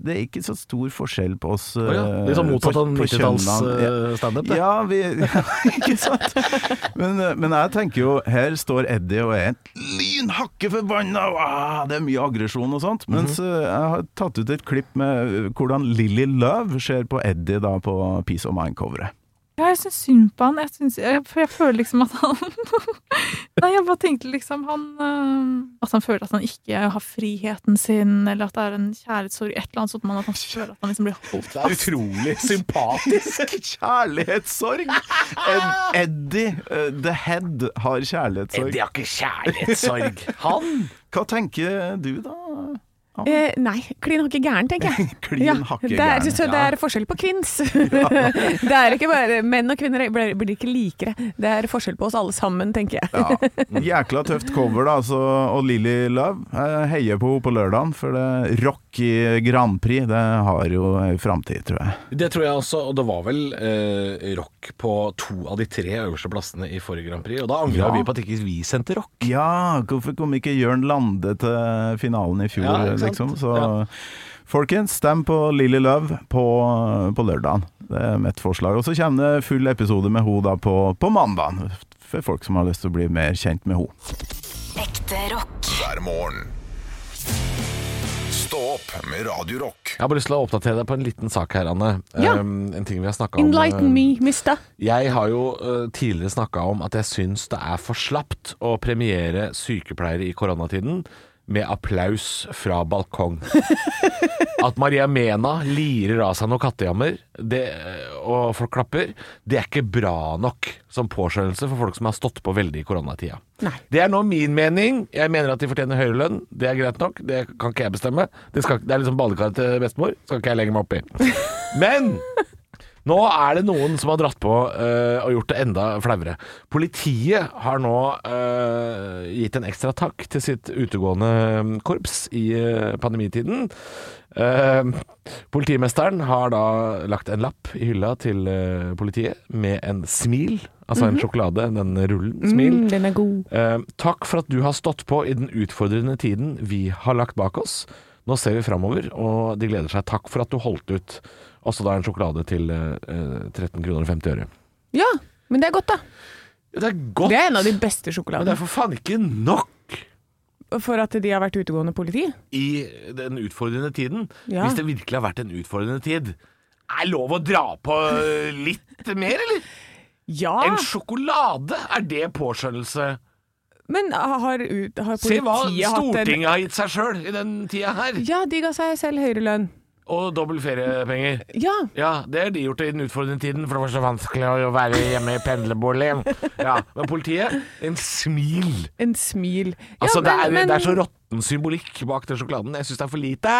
Speaker 10: det er ikke så stor forskjell på oss.
Speaker 4: Å ja, litt sånn
Speaker 10: eh,
Speaker 4: motsatt
Speaker 10: på-
Speaker 4: av
Speaker 10: på
Speaker 4: 90-talls,
Speaker 10: kjønnene. Ja.
Speaker 4: eh, standup, det.
Speaker 10: Ja, vi, ja, ikke sant? Men, eh, men jeg tenker jo Her står Eddie og er lynhakke forbanna! og, Ah, det er mye aggresjon og sånt. Mens
Speaker 4: Mhm.
Speaker 10: eh, jeg har tatt ut et klipp med eh, hvordan Lilly Love ser på Eddie da på Peace of Mind-coveret.
Speaker 11: Ja, jeg syns synd på han. Jeg, syns- jeg, for jeg føler liksom at han Nei, jeg bare tenkte liksom han øh, At han føler at han ikke har friheten sin, eller at det er en kjærlighetssorg, et eller annet sånt. Men at han føler at han liksom blir holdt
Speaker 10: Det er utrolig sympatisk. kjærlighetssorg! Ed- Eddie eh, The Head har kjærlighetssorg.
Speaker 4: Eddie har ikke kjærlighetssorg. Han!
Speaker 10: Hva tenker du, da?
Speaker 5: Eh, nei, klin hakke gæren, tenker jeg.
Speaker 10: Klin hakke
Speaker 5: det er,
Speaker 10: gæren,
Speaker 5: Så det
Speaker 10: ja.
Speaker 5: er forskjell på kvinns. det er ikke bare Menn og kvinner blir, blir ikke likere. Det er forskjell på oss alle sammen, tenker jeg.
Speaker 10: Ja. Mm. Jækla tøft cover, da. Så, og Lilly Love. Jeg heier på henne på lørdagen, for det rock i Grand Prix, det har jo ei framtid, tror jeg.
Speaker 4: Det tror jeg også, og det var vel eh, rock på to av de tre øverste plassene i forrige Grand Prix, og da angra
Speaker 10: Ja.
Speaker 4: vi på at ikke vi sendte rock.
Speaker 10: Ja, hvorfor kom ikke Jørn Lande til finalen i fjor,
Speaker 4: Ja, ikke sant?
Speaker 10: liksom? Så
Speaker 4: Ja.
Speaker 10: folkens, stem på Lilly Love på, på lørdagen. Det er mitt forslag. Og så kommer det full episode med henne da på, på mandagen, for folk som har lyst til å bli mer kjent med henne.
Speaker 7: Ekte rock.
Speaker 3: hver morgen. Stå opp med Radio Rock.
Speaker 4: Jeg har bare lyst til å oppdatere deg på en liten sak her, Anne.
Speaker 5: Ja.
Speaker 4: Um, en ting vi har snakka om.
Speaker 5: Enlighten me, mister.
Speaker 4: Jeg har jo eh, tidligere snakka om at jeg syns det er for slapt å premiere sykepleiere i koronatiden med applaus fra balkong. At Maria Mena lirer av seg noen kattejammer det, eh, og folk klapper, det er ikke bra nok som påskjønnelse for folk som har stått på veldig i koronatida. Det er nå min mening. Jeg mener at de fortjener høyere lønn. Det er greit nok. Det kan ikke jeg bestemme. Det, skal, det er liksom badekaret til bestemor. Skal ikke jeg legge meg opp i. Men nå er det noen som har dratt på eh, og gjort det enda flauere. Politiet har nå eh, gitt en ekstra takk til sitt utegående mm, korps i eh, pandemitiden. Eh, politimesteren har da lagt en lapp i hylla til eh, politiet med en smil, altså en
Speaker 5: Mhm.
Speaker 4: sjokolade, den rullen, smil.
Speaker 5: Mm, den er god.
Speaker 4: Eh, takk for at du har stått på i den utfordrende tiden vi har lagt bak oss. Nå ser vi framover, og de gleder seg. Takk for at du holdt ut. Også da en sjokolade til eh, eh, 13 kroner og 50 øre.
Speaker 5: Ja, men det er godt, da.
Speaker 4: Det er godt.
Speaker 5: Det er en av de beste sjokoladene.
Speaker 4: Men det er for faen ikke nok!
Speaker 5: For at de har vært utegående politi?
Speaker 4: I den utfordrende tiden,
Speaker 5: Ja.
Speaker 4: hvis det virkelig har vært en utfordrende tid, er lov å dra på eh, litt mer, eller?
Speaker 5: Ja.
Speaker 4: En sjokolade, er det påskjønnelse?
Speaker 5: Men har, ut, har
Speaker 4: Se
Speaker 5: politiet
Speaker 4: hva
Speaker 5: hatt en
Speaker 4: Stortinget har gitt seg sjøl i den tida her.
Speaker 5: Ja, de ga seg selv høyere lønn.
Speaker 4: Og dobbel feriepenger.
Speaker 5: Ja.
Speaker 4: Det har de gjort i den utfordrende tiden, for det var så vanskelig å være hjemme i pendlerboligen. Ja, Men politiet en smil.
Speaker 5: En smil.
Speaker 4: Altså,
Speaker 5: ja,
Speaker 4: det, er,
Speaker 5: men,
Speaker 4: det er så råtten symbolikk bak den sjokoladen. Jeg syns det er for lite.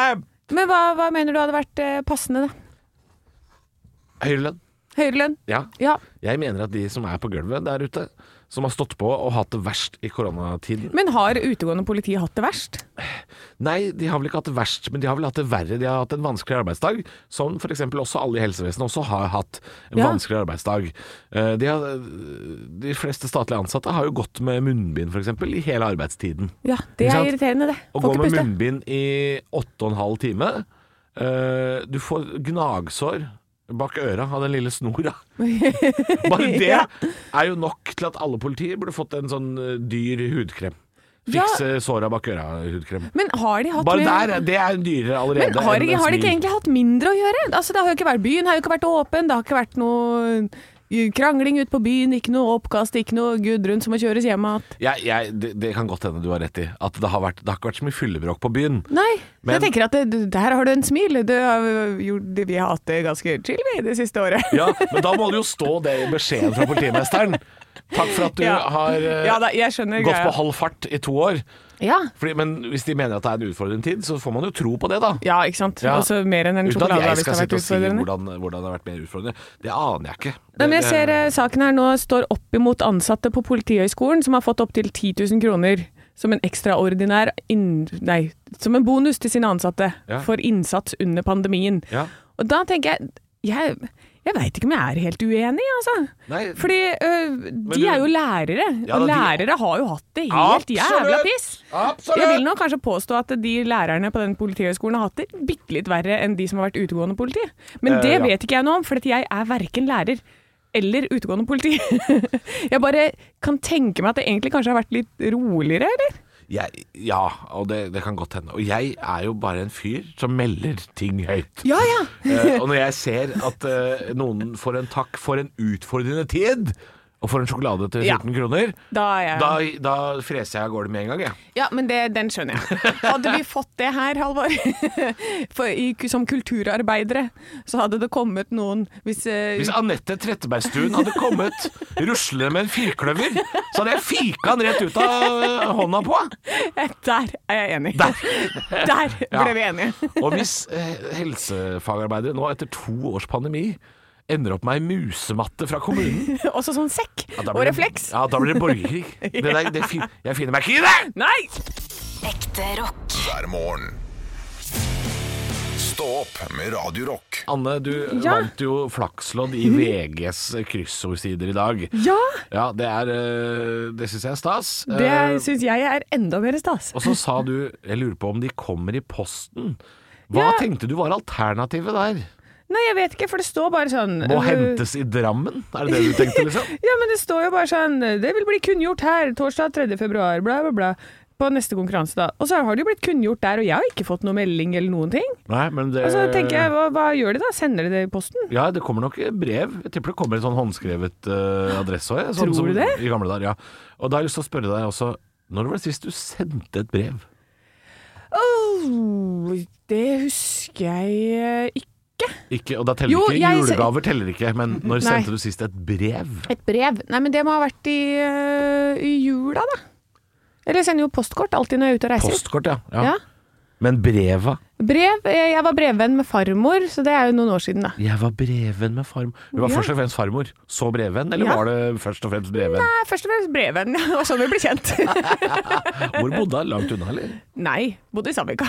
Speaker 5: Men hva, hva mener du hadde vært eh, passende, da?
Speaker 4: Høyere lønn.
Speaker 5: Høyere lønn?
Speaker 4: Ja.
Speaker 5: Ja.
Speaker 4: Jeg mener at de som er på gulvet der ute, som har stått på og hatt det verst i koronatiden
Speaker 5: Men har utegående politi hatt det verst?
Speaker 4: Nei, de har vel ikke hatt det verst, men de har vel hatt det verre. De har hatt en vanskelig arbeidsdag, som f.eks. også alle i helsevesenet også har hatt en
Speaker 5: Ja.
Speaker 4: vanskelig arbeidsdag. Eh, De, har, de fleste statlige ansatte har jo gått med munnbind f.eks. i hele arbeidstiden.
Speaker 5: Ja, det
Speaker 4: Ikke
Speaker 5: er
Speaker 4: sant?
Speaker 5: irriterende, det.
Speaker 4: Å
Speaker 5: Får
Speaker 4: gå
Speaker 5: ikke
Speaker 4: med
Speaker 5: puste.
Speaker 4: munnbind i åtte og en halv time eh, Du får gnagsår bak øra av den lille snora. Bare det
Speaker 5: Ja.
Speaker 4: er jo nok til at alle politier burde fått en sånn eh, dyr hudkrem.
Speaker 5: Ja.
Speaker 4: Fikse såra bak øra-hudkrem.
Speaker 5: Men har de hatt
Speaker 4: Bare
Speaker 5: mer-
Speaker 4: der, det er dyrere allerede.
Speaker 5: Men har,
Speaker 4: enn
Speaker 5: de-
Speaker 4: en
Speaker 5: har de ikke
Speaker 4: smil.
Speaker 5: egentlig hatt mindre å gjøre? Altså, det har jo ikke vært Byen har jo ikke vært åpen, det har ikke vært noe eh, krangling ute på byen, ikke noe oppkast, ikke noe Gudrun som må kjøres hjem igjen.
Speaker 4: Jeg, jeg, det, det kan godt hende du har rett i at det har, vært, det har ikke vært så mye fyllebråk på byen.
Speaker 5: Nei, så
Speaker 4: Men-
Speaker 5: jeg tenker at det, der har du en smil. Du har gjort, det- vi har hatt det ganske chill vi det siste året.
Speaker 4: Ja, Men da må det jo stå det i beskjeden fra politimesteren. Takk for at du
Speaker 5: Ja.
Speaker 4: har eh,
Speaker 5: Ja da, jeg skjønner
Speaker 4: gått
Speaker 5: greia.
Speaker 4: på halv fart i to år.
Speaker 5: Ja.
Speaker 4: Fordi, men hvis de mener at det er en utfordrende tid, så får man jo tro på det, da.
Speaker 5: Ja, ikke sant. Også mer enn en
Speaker 4: Uten at
Speaker 5: sjokolade
Speaker 4: jeg
Speaker 5: hvis det
Speaker 4: skal
Speaker 5: har vært
Speaker 4: sitte og si
Speaker 5: utfordrende.
Speaker 4: hvordan, hvordan det har vært mer utfordrende. Det aner jeg ikke.
Speaker 5: Nei, men jeg
Speaker 4: Det-
Speaker 5: ser eh, saken her nå står opp imot ansatte på Politihøgskolen som har fått opptil 10 000 kroner som en ekstraordinær inn, Nei, som en bonus til sine ansatte
Speaker 12: Ja.
Speaker 5: for innsats under pandemien.
Speaker 12: Ja.
Speaker 5: Og da tenker jeg Jeg, jeg veit ikke om jeg er helt uenig, altså.
Speaker 4: Nei.
Speaker 5: Fordi øh, de
Speaker 4: du-
Speaker 5: er jo lærere,
Speaker 4: Ja, da,
Speaker 5: og
Speaker 4: de-
Speaker 5: lærere har jo hatt det helt jævla
Speaker 4: Absolutt!
Speaker 5: piss.
Speaker 4: Absolutt!
Speaker 5: Jeg vil nok kanskje påstå at de lærerne på den politihøgskolen har hatt det bitte litt verre enn de som har vært utegående politi. Men
Speaker 12: Eh,
Speaker 5: det
Speaker 12: ja.
Speaker 5: vet ikke jeg noe om, for at jeg er verken lærer eller utegående politi. jeg bare kan tenke meg at det egentlig kanskje har vært litt roligere, eller?
Speaker 4: Jeg, ja, og det, det kan godt hende. Og jeg er jo bare en fyr som melder ting høyt.
Speaker 5: Ja, ja.
Speaker 4: Eh, og når jeg ser at eh, noen får en takk for en utfordrende tid, og får en sjokolade til 14
Speaker 5: Ja.
Speaker 4: kroner,
Speaker 5: Da er jeg
Speaker 4: da, da freser jeg av gårde med en gang, jeg.
Speaker 5: Ja, men det, den skjønner jeg. Hadde vi fått det her, Halvor, for i, som kulturarbeidere, så hadde det kommet noen Hvis, eh,
Speaker 4: Hvis Anette Trettebergstuen hadde kommet ruslende med en firkløver, så hadde jeg fika han rett ut av hånda på.
Speaker 5: Der er jeg enig.
Speaker 4: Der,
Speaker 5: ble vi enige.
Speaker 4: Og hvis eh, helsefagarbeidere nå etter to års pandemi ender opp med ei musematte fra kommunen
Speaker 5: Også sånn sekk
Speaker 4: ja, da
Speaker 5: og
Speaker 4: blir det-
Speaker 5: refleks.
Speaker 4: Ja, da blir det borgerkrig. Det der, det fin jeg finner meg ikke i det!
Speaker 5: Nei!
Speaker 7: Ekte rock.
Speaker 3: hver morgen. Stå opp med Radio Rock.
Speaker 4: Anne, du
Speaker 3: Ja.
Speaker 4: vant jo flakslodd i
Speaker 5: Mhm.
Speaker 4: VGs kryssordsider i dag.
Speaker 5: Ja.
Speaker 4: Ja, Det, er, eh, det syns jeg er stas.
Speaker 5: Det
Speaker 4: Eh,
Speaker 5: syns jeg er enda mer stas.
Speaker 4: Og så sa du Jeg lurer på om de kommer i posten. Hva
Speaker 5: Ja.
Speaker 4: tenkte du var alternativet der?
Speaker 5: Nei, jeg vet ikke, for det står bare sånn
Speaker 4: Må
Speaker 5: øh,
Speaker 4: hentes i Drammen? Er det det du tenkte, liksom?
Speaker 5: Ja, men det står jo bare sånn Det vil bli kunngjort her torsdag 3. februar, bla, bla, bla. På neste konkurranse, da. Og så har det jo blitt kunngjort der, og jeg har ikke fått noe melding eller noen ting.
Speaker 4: Nei, men det
Speaker 5: Og så Altså, tenker jeg, hva, hva gjør de da? Sender de det i posten?
Speaker 4: Ja, det kommer nok brev. Jeg tipper det kommer en sånn håndskrevet eh, adresse òg. Sånn
Speaker 5: Tror
Speaker 4: som
Speaker 5: du det?
Speaker 4: I gamle dager, ja. Og da har jeg lyst til å spørre deg også, når var det sist du sendte et brev?
Speaker 5: Åh, Oh, det husker jeg eh, ikke.
Speaker 4: Ikke, og da teller
Speaker 5: Jo,
Speaker 4: ikke
Speaker 5: jeg-
Speaker 4: julegaver, teller ikke, men når
Speaker 5: Nei.
Speaker 4: sendte du sist et brev?
Speaker 5: Et brev? Nei, men det må ha vært i, eh, i jula, da. Eller jeg sender jo postkort alltid når jeg er ute og reiser.
Speaker 4: Postkort, ja. ja.
Speaker 5: Ja.
Speaker 4: Men breva?
Speaker 5: Brev? eh, Jeg var brevvenn med farmor, så det er jo noen år siden, da.
Speaker 4: Jeg var brevvenn med farmor. Du var
Speaker 5: Ja.
Speaker 4: først og fremst farmor, så brevvenn, eller
Speaker 5: Ja.
Speaker 4: var det først og fremst brevvenn?
Speaker 5: Nei, først og fremst brevvenn. Det var sånn vi ble kjent.
Speaker 4: Hvor bodde han? Langt unna, eller?
Speaker 5: Nei, bodde i Sandvika.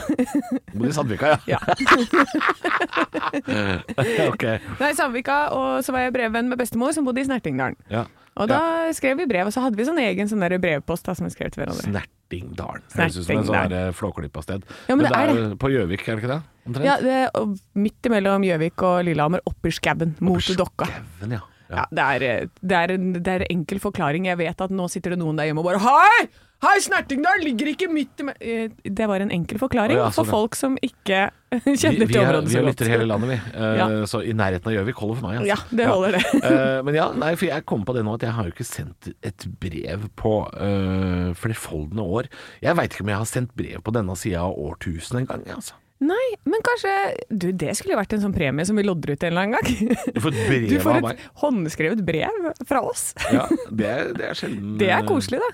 Speaker 4: Bodde i Sandvika, ja. ok.
Speaker 5: Nei, Sandvika, og så var jeg brevvenn med bestemor som bodde i Snertingdalen.
Speaker 4: Ja.
Speaker 5: Og da skrev vi brev, og så hadde vi sånn egen sånn der brevpost da, som vi skrev til hverandre.
Speaker 4: Snertingdalen. Høres ut som en sånn
Speaker 5: Snertingdalen.
Speaker 4: der flåklippa sted.
Speaker 5: Ja, men det er
Speaker 4: jo På Gjøvik, er det ikke det? Omtrent?
Speaker 5: Ja, det, og midt imellom Gjøvik og Lillehammer, oppi skauen, mot dokka.
Speaker 4: Men ja.
Speaker 5: Ja, det er, eh, det, er en, det er en enkel forklaring. Jeg vet at nå sitter det noen der hjemme og bare Hei! Hei, Snertingdalen ligger ikke midt i me-» Eh, Det var en enkel forklaring
Speaker 4: Å ja,
Speaker 5: for
Speaker 4: sånn, ja.
Speaker 5: folk som ikke
Speaker 4: Vi,
Speaker 5: kjenner
Speaker 4: vi,
Speaker 5: til
Speaker 4: er,
Speaker 5: området
Speaker 4: vi
Speaker 5: så
Speaker 4: er
Speaker 5: godt.
Speaker 4: lytter i hele landet, vi. Eh,
Speaker 5: Ja.
Speaker 4: Så i nærheten av Gjøvik holder for meg. Altså.
Speaker 5: Ja, det holder det.
Speaker 4: Eh, men ja, nei, for jeg kom på det nå at jeg har jo ikke sendt et brev på eh, flerfoldende år. Jeg veit ikke om jeg har sendt brev på denne sida av årtusenet engang. jeg, Altså.
Speaker 5: Nei, men kanskje Du, det skulle jo vært en sånn premie som vi lodder ut en eller annen gang.
Speaker 4: Du får et brev
Speaker 5: Du får
Speaker 4: av meg.
Speaker 5: et håndskrevet brev fra oss.
Speaker 4: Ja, det, er- det er sjelden eh,
Speaker 5: Det er koselig, da.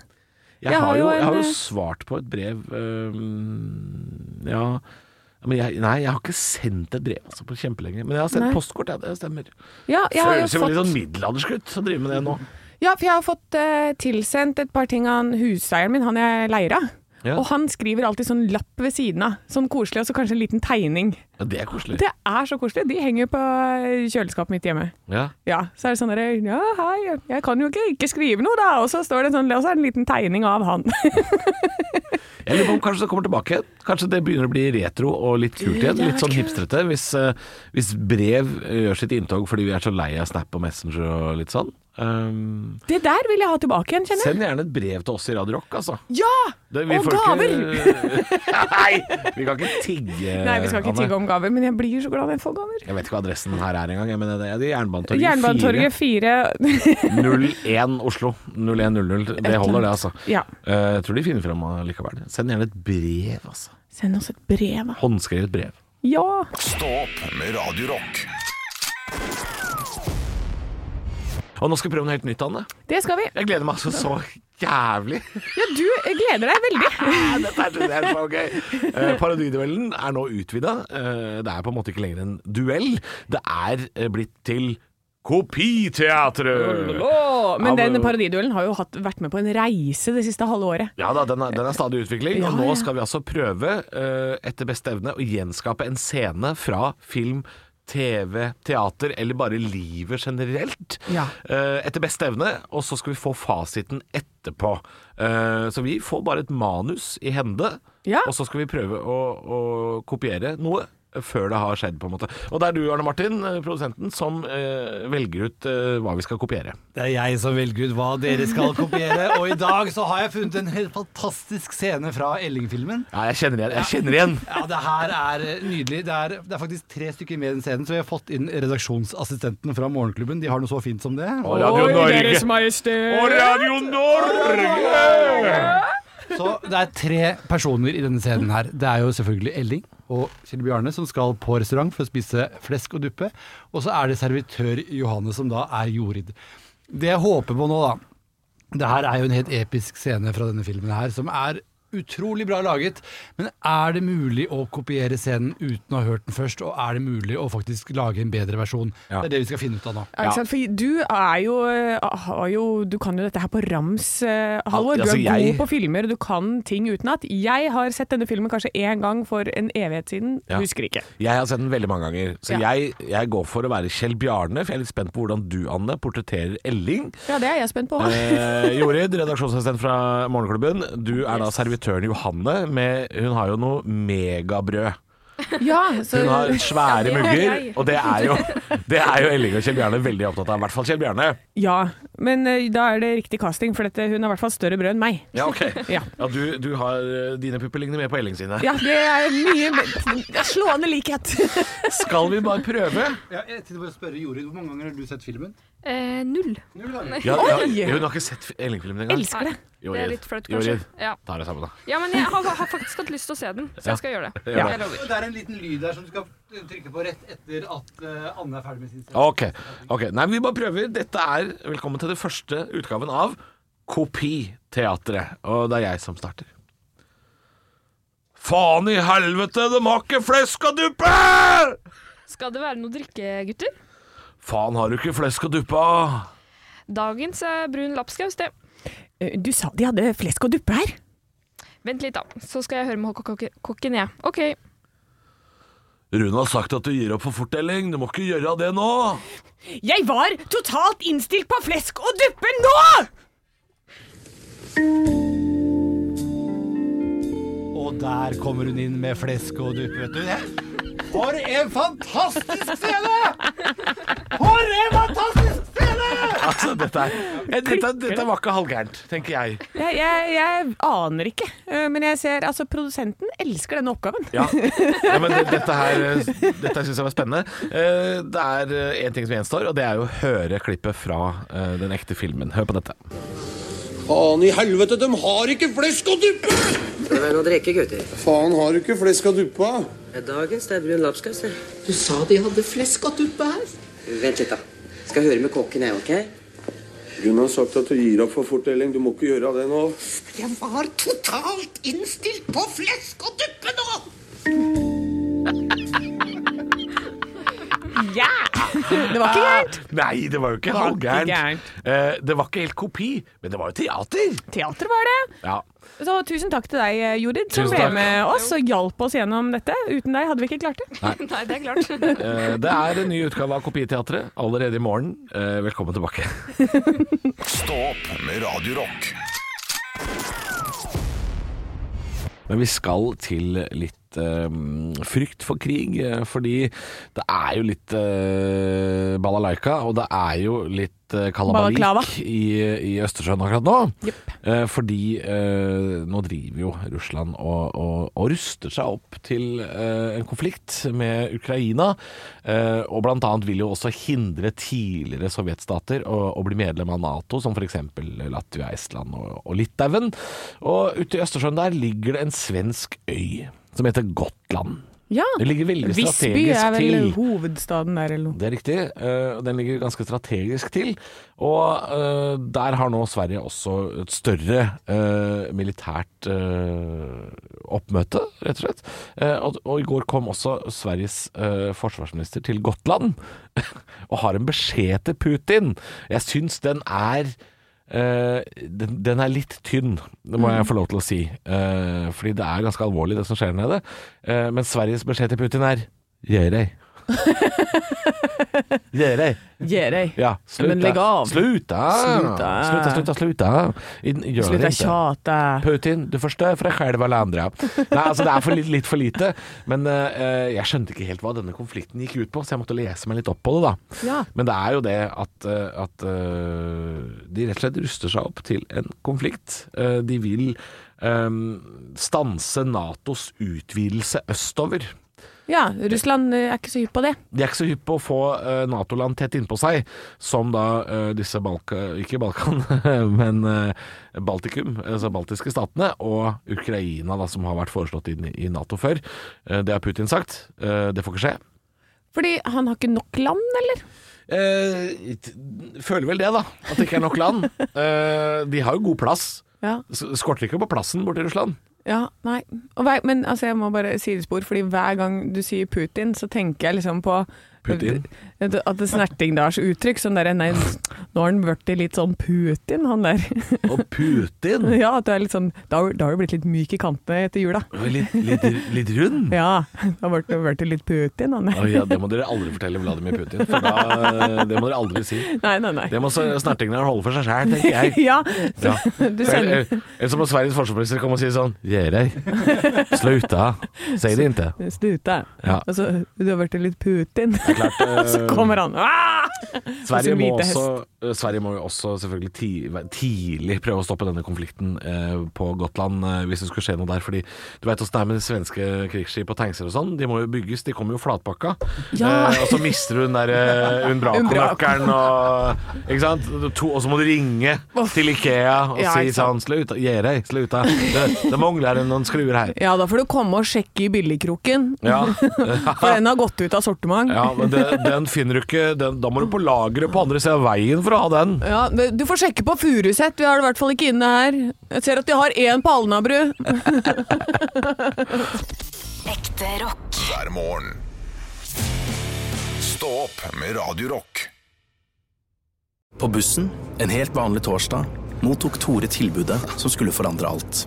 Speaker 4: Jeg,
Speaker 5: Jeg
Speaker 4: har,
Speaker 5: har
Speaker 4: jo,
Speaker 5: jo en,
Speaker 4: jeg har jo
Speaker 5: eh,
Speaker 4: svart på et brev eh, Ja men jeg, Nei, jeg har ikke sendt et brev altså, på kjempelenge. Men jeg har sendt
Speaker 5: Nei.
Speaker 4: postkort, ja, det stemmer.
Speaker 5: Ja, jeg har jo
Speaker 4: Føles jo veldig
Speaker 5: fått-
Speaker 4: sånn middelaldersgutt å drive med det nå.
Speaker 5: Ja, for jeg har fått eh, tilsendt et par ting av han huseieren min, han jeg leier av.
Speaker 4: Ja.
Speaker 5: Og han skriver alltid sånn lapp ved siden av. Sånn koselig, og så kanskje en liten tegning.
Speaker 4: Ja, det er koselig.
Speaker 5: Det er så koselig. De henger jo på eh, kjøleskapet mitt hjemme.
Speaker 4: Ja.
Speaker 5: Ja, så er det sånn derre Ja, hei, jeg kan jo ikke ikke skrive noe, da. Og så står det en sånn, og så er det en liten tegning av han.
Speaker 4: Jeg lurer på om kanskje det kommer tilbake. Kanskje det begynner å bli retro og litt kult igjen. Litt sånn hipstrete. Hvis, eh, hvis brev gjør sitt inntog fordi vi er så lei av Snap og Messenger og litt sånn. Um,
Speaker 5: Det der vil jeg ha tilbake igjen, kjenner jeg.
Speaker 4: send gjerne et brev til oss i Radio Rock, altså.
Speaker 5: Ja!
Speaker 4: Det- vi
Speaker 5: og
Speaker 4: får ikke-
Speaker 5: gaver!
Speaker 4: Nei, vi kan ikke tigge.
Speaker 5: Nei, vi skal ikke
Speaker 4: Anne.
Speaker 5: tigge om gaver, men jeg blir så glad når jeg får gaver.
Speaker 4: Jeg vet ikke hva adressen her er engang. jeg, Men det er det Jernbanetorget,
Speaker 5: Jernbanetorget 4.
Speaker 4: 01 Oslo. 0100. Det holder, det, altså.
Speaker 5: Ja.
Speaker 4: Eh, jeg tror de finner frem eh, likevel. Send gjerne et brev, altså.
Speaker 5: Send oss et brev, da.
Speaker 4: Håndskrevet brev.
Speaker 5: Ja.
Speaker 3: Stå opp med Radio Rock.
Speaker 4: Og nå skal vi prøve noe helt nytt, Anne.
Speaker 5: Det skal vi.
Speaker 4: Jeg gleder meg altså så jævlig.
Speaker 5: Ja, du gleder deg veldig.
Speaker 4: Dette er- det er så gøy. Eh, Parodiduellen er nå utvida. Eh, det er på en måte ikke lenger en duell. Det er eh, blitt til Kopiteatret!
Speaker 5: Åh, men
Speaker 4: Av-
Speaker 5: den parodiduellen har jo hatt, vært med på en reise det siste halve året.
Speaker 4: Ja da, den er, den er stadig i utvikling.
Speaker 5: Ja,
Speaker 4: og nå
Speaker 5: ja.
Speaker 4: skal vi altså prøve, eh, etter beste evne, å gjenskape en scene fra film, TV, teater eller bare livet generelt.
Speaker 5: Ja.
Speaker 4: Eh, etter beste evne, og så skal vi få fasiten etterpå. Eh, så vi får bare et manus i hende, og så skal vi prøve å, å kopiere noe. Før det har skjedd, på en måte. Og det er du, Arne Martin, eh, produsenten, som eh, velger ut eh, hva vi skal kopiere.
Speaker 13: Det er jeg som velger ut hva dere skal kopiere, og i dag så har jeg funnet en helt fantastisk scene fra Elling-filmen.
Speaker 4: Ja, jeg kjenner igjen. Jeg kjenner igjen.
Speaker 13: Ja, det her er eh, nydelig. Det er, det er faktisk tre stykker med i den scenen, så vi har fått inn redaksjonsassistenten fra Morgenklubben. De har noe så fint som det.
Speaker 4: Og Radio Oi, Norge. Deres Majestet. Og Radio Norge!
Speaker 13: Så det er tre personer i denne scenen her. Det er jo selvfølgelig Elling og Kjell Bjarne som skal på restaurant for å spise flesk og duppe. Og så er det servitør Johanne som da er Jorid. Det jeg håper på nå, da, det her er jo en helt episk scene fra denne filmen her, som er utrolig bra laget. Men er det mulig å kopiere scenen uten å ha hørt den først, og er det mulig å faktisk lage en bedre versjon? Det er det vi skal finne ut av nå.
Speaker 5: Ja, ikke sant? For du er jo, eh, har jo Du kan jo dette her på rams, eh, Halvor. Du
Speaker 13: Altså,
Speaker 5: er
Speaker 13: jeg-
Speaker 5: god på filmer, du kan ting utenat. Jeg har sett denne filmen kanskje én gang for en evighet siden.
Speaker 4: Ja.
Speaker 5: Husker ikke.
Speaker 4: Jeg har sett den veldig mange ganger. Så
Speaker 5: Ja.
Speaker 4: jeg, jeg går for å være Kjell Bjarne, for jeg er litt spent på hvordan du, Anne, portretterer Elling.
Speaker 5: Ja, det er jeg spent på.
Speaker 4: Eh, Jorid, redaksjonsassistent fra Morgenklubben. Du er da servitøren Johanne. Med, hun har jo noe megabrød.
Speaker 5: ja,
Speaker 4: Hun har svære
Speaker 5: Ja, det er
Speaker 4: mugger,
Speaker 5: jeg.
Speaker 4: og det er, jo, det er jo Elling og Kjell Bjarne veldig opptatt av. I hvert fall Kjell Bjarne.
Speaker 5: Ja, men eh, da er det riktig casting, for dette, hun er i hvert fall større brød enn meg.
Speaker 4: Ja, ok.
Speaker 5: Ja.
Speaker 4: Ja, du, du har, eh, dine pupper ligner mer på Elling sine.
Speaker 5: Ja, det er mye det er slående likhet.
Speaker 4: Skal vi bare prøve?
Speaker 13: Ja, jeg tenkte bare å spørre Jorid, Hvor mange ganger har du sett filmen?
Speaker 6: Eh, null.
Speaker 4: Ja, ja,
Speaker 6: Oi!
Speaker 4: hun har ikke sett Elling-filmen engang.
Speaker 6: Elsker det.
Speaker 4: Jorid,
Speaker 6: Det er litt flaut, kanskje.
Speaker 4: Jorid,
Speaker 6: Ja.
Speaker 4: ta det sammen, da.
Speaker 6: Ja, men jeg har, har faktisk hatt lyst til å se den, så jeg skal gjøre det.
Speaker 4: Ja.
Speaker 6: Jeg lover.
Speaker 13: Det er en liten lyd der som du skal trykke på rett etter at eh, Anne er ferdig med sin scene.
Speaker 4: Ok, ok. Nei, vi bare prøver. Dette er Velkommen til den første utgaven av Kopiteatret. Og det er jeg som starter. Faen i helvete, de har ikke flesk og duppe!
Speaker 6: Skal det være noe drikke, gutter?
Speaker 4: Faen, har du ikke flesk og duppe? av?
Speaker 6: Dagens er brun lapskaus, det.
Speaker 5: Eh, Du sa de hadde flesk og duppe her.
Speaker 6: Vent litt, da. Så skal jeg høre med hokk- kokken, jeg. OK.
Speaker 4: Rune har sagt at du gir opp for fort, Elling. Du må ikke gjøre det nå.
Speaker 5: Jeg var totalt innstilt på flesk og duppe nå!
Speaker 13: Og der kommer hun inn med flesk og duppe, vet du. Det- For en fantastisk scene! For en fantastisk
Speaker 4: Altså, dette, er, eh, dette, dette var ikke halvgærent, tenker jeg.
Speaker 5: Jeg, jeg, jeg aner ikke, eh, men jeg ser altså produsenten elsker denne oppgaven.
Speaker 4: Ja, ja men det, dette her eh, Dette syns jeg var spennende. Eh, Det er én ting som gjenstår, og det er jo å høre klippet fra eh, den ekte filmen. Hør på dette.
Speaker 3: Faen i helvete, de har ikke flesk og duppe! Skal det være noe å drikke, gutter? Faen, har du ikke flesk og duppe? Dagens, det er brun lapskaus, det. Du sa de hadde flesk og duppe her? Vent litt, da. Skal høre med kokken, jeg, OK?
Speaker 14: Hun har sagt at du gir opp for fort, Elling. Du må ikke gjøre det nå.
Speaker 3: Jeg var totalt innstilt på flesk og duppe nå!
Speaker 5: Ja! Ah. Det var ikke gærent.
Speaker 4: Nei, det var jo ikke
Speaker 5: Det var ikke
Speaker 4: halvgærent. Eh, Det var ikke helt kopi, men det var jo teater.
Speaker 5: Teater var det.
Speaker 4: Ja.
Speaker 5: Så tusen takk til deg, eh, Jorid, som
Speaker 4: Tusen
Speaker 5: ble
Speaker 4: takk.
Speaker 5: med oss og hjalp oss gjennom dette. Uten deg hadde vi ikke klart det.
Speaker 4: Nei.
Speaker 5: det er klart.
Speaker 4: Eh, Det er en ny utgave av Kopiteatret allerede i morgen. Eh, Velkommen tilbake.
Speaker 15: Stå opp med Radio Rock.
Speaker 4: Men vi skal til litt eh, frykt for krig, eh, fordi det er jo litt eh, balalaika, og det er jo litt eh,
Speaker 5: Balaklava.
Speaker 4: kalabalik i, i Østersjøen akkurat nå. Eh, fordi eh, nå driver jo Russland og, og, og ruster seg opp til eh, en konflikt med Ukraina, eh, og blant annet vil jo også hindre tidligere sovjetstater å, å bli medlem av NATO, som f.eks. Latvia, Estland og, og Litauen. Og ute i Østersjøen der ligger det en svensk øy som heter Gotland.
Speaker 5: Ja.
Speaker 4: Det ligger veldig
Speaker 5: Visby
Speaker 4: strategisk
Speaker 5: er vel
Speaker 4: til.
Speaker 5: hovedstaden der, eller noe.
Speaker 4: Det er riktig. eh, Den ligger ganske strategisk til. Og eh, der har nå Sverige også et større eh, militært eh, oppmøte, rett og slett. Eh, Og, og i går kom også Sveriges eh, forsvarsminister til Gotland og har en beskjed til Putin. Jeg syns den er eh, den, den er litt tynn, det må jeg få lov til å si. Eh, fordi det er ganske alvorlig, det som skjer nede. Eh, men Sveriges beskjed til Putin er Gjør deg. Gjør deg.
Speaker 5: Gjerøy.
Speaker 4: Ja, slutt
Speaker 5: Men legg
Speaker 4: da.
Speaker 5: av.
Speaker 4: Slutt da.
Speaker 5: Slutt da.
Speaker 4: Slutt da, slutt da, slutt da. In- Gjør
Speaker 5: Slutt
Speaker 4: det
Speaker 5: å
Speaker 4: ikke.
Speaker 5: tjate.
Speaker 4: Putin, du forstør for deg selv alle andre. Nei, altså det er for litt, litt for lite. Men eh, jeg skjønte ikke helt hva denne konflikten gikk ut på, så jeg måtte lese meg litt opp på det, da.
Speaker 5: Ja.
Speaker 4: Men det er jo det at, eh, at eh, de rett og slett ruster seg opp til en konflikt. Eh, De vil eh, stanse Natos utvidelse østover.
Speaker 5: Ja, Russland eh, er ikke så hypp på det.
Speaker 4: De er ikke så hypp på å få eh, Nato-land tett innpå seg, som da eh, disse Balka, ikke Balkan, men eh, Baltikum, altså baltiske statene, og Ukraina, da, som har vært foreslått inn i Nato før. Eh, det har Putin sagt. Eh, det får ikke skje.
Speaker 5: Fordi han har ikke nok land, eller?
Speaker 4: Eh, t- føler vel det, da. At det ikke er nok land. Eh, de har jo god plass.
Speaker 5: Ja.
Speaker 4: S- Skorter ikke på plassen borti Russland.
Speaker 5: Ja, nei. Og hver, men altså, jeg må bare sidespor, fordi hver gang du sier Putin, så tenker jeg liksom på
Speaker 4: Putin?
Speaker 5: At det- at det Snertingdals uttrykk. Sånn derre Nei, nå har han blitt litt sånn Putin, han der.
Speaker 4: Og Putin?
Speaker 5: ja, at du er litt sånn Da har da har du blitt litt myk i kantene etter jula.
Speaker 4: Litt, litt, litt rund.
Speaker 5: Ja. Da ble du blitt litt Putin, han der.
Speaker 4: Å ja, det må dere aldri fortelle Vladimir Putin, for da, eh, det må dere aldri si.
Speaker 5: Nei, nei, nei.
Speaker 4: Det må så- snertingene holde for seg sjæl, tenker jeg.
Speaker 5: ja.
Speaker 4: Ja.
Speaker 5: Du sender
Speaker 4: Eller så må Sveriges forsvarsminister komme og si sånn Gjør deg. Sluta. Si det ikke.
Speaker 5: Sluta.
Speaker 4: Ja.
Speaker 5: Altså, du har blitt litt Putin.
Speaker 4: er klart, eh,
Speaker 5: så kommer han. Ah!
Speaker 4: Sverige
Speaker 5: Og så
Speaker 4: må,
Speaker 5: hvite hest.
Speaker 4: også, eh, Sverige må jo også selvfølgelig ti, væ- tidlig prøve å stoppe denne konflikten eh, på Gotland eh, hvis det skulle skje noe der. Fordi du veit åssen det er med de svenske krigsskip og tankser og sånn. De må jo bygges, de kommer jo flatpakka.
Speaker 12: Ja.
Speaker 4: Eh, og så mister du den der eh, Umbraco-nøkkelen og Ikke sant? To, og så må du ringe til Ikea og
Speaker 5: Ja,
Speaker 4: si
Speaker 5: ikke
Speaker 4: sånn Slutt, gi deg, slutt. Det, det mangler noen skruer her.
Speaker 5: Ja, da får du komme og sjekke i billigkroken.
Speaker 4: Ja.
Speaker 5: For den har gått ut av sortiment.
Speaker 4: Ja, men den, den finner du ikke den, Da må du på lageret på andre siden av veien for å ha den.
Speaker 5: Ja, men du får sjekke på Furuset, vi har det i hvert fall ikke inne her. Jeg ser at de har én på Alnabru.
Speaker 7: Ekte rock.
Speaker 3: hver morgen. Stå opp med Radio Rock.
Speaker 8: På bussen, en helt vanlig torsdag, mottok Tore tilbudet som skulle forandre alt.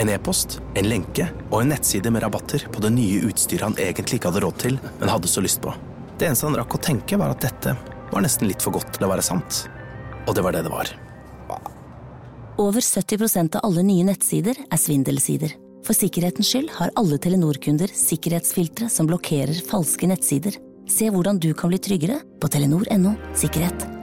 Speaker 8: En e-post, en lenke og en nettside med rabatter på det nye utstyret han egentlig ikke hadde råd til, men hadde så lyst på. Det eneste han rakk å tenke, var at dette var nesten litt for godt til å være sant. Og det var det det var.
Speaker 16: Over 70 av alle nye nettsider er svindelsider. For sikkerhetens skyld har alle Telenor-kunder sikkerhetsfiltre som blokkerer falske nettsider. Se hvordan du kan bli tryggere på telenor.no sikkerhet.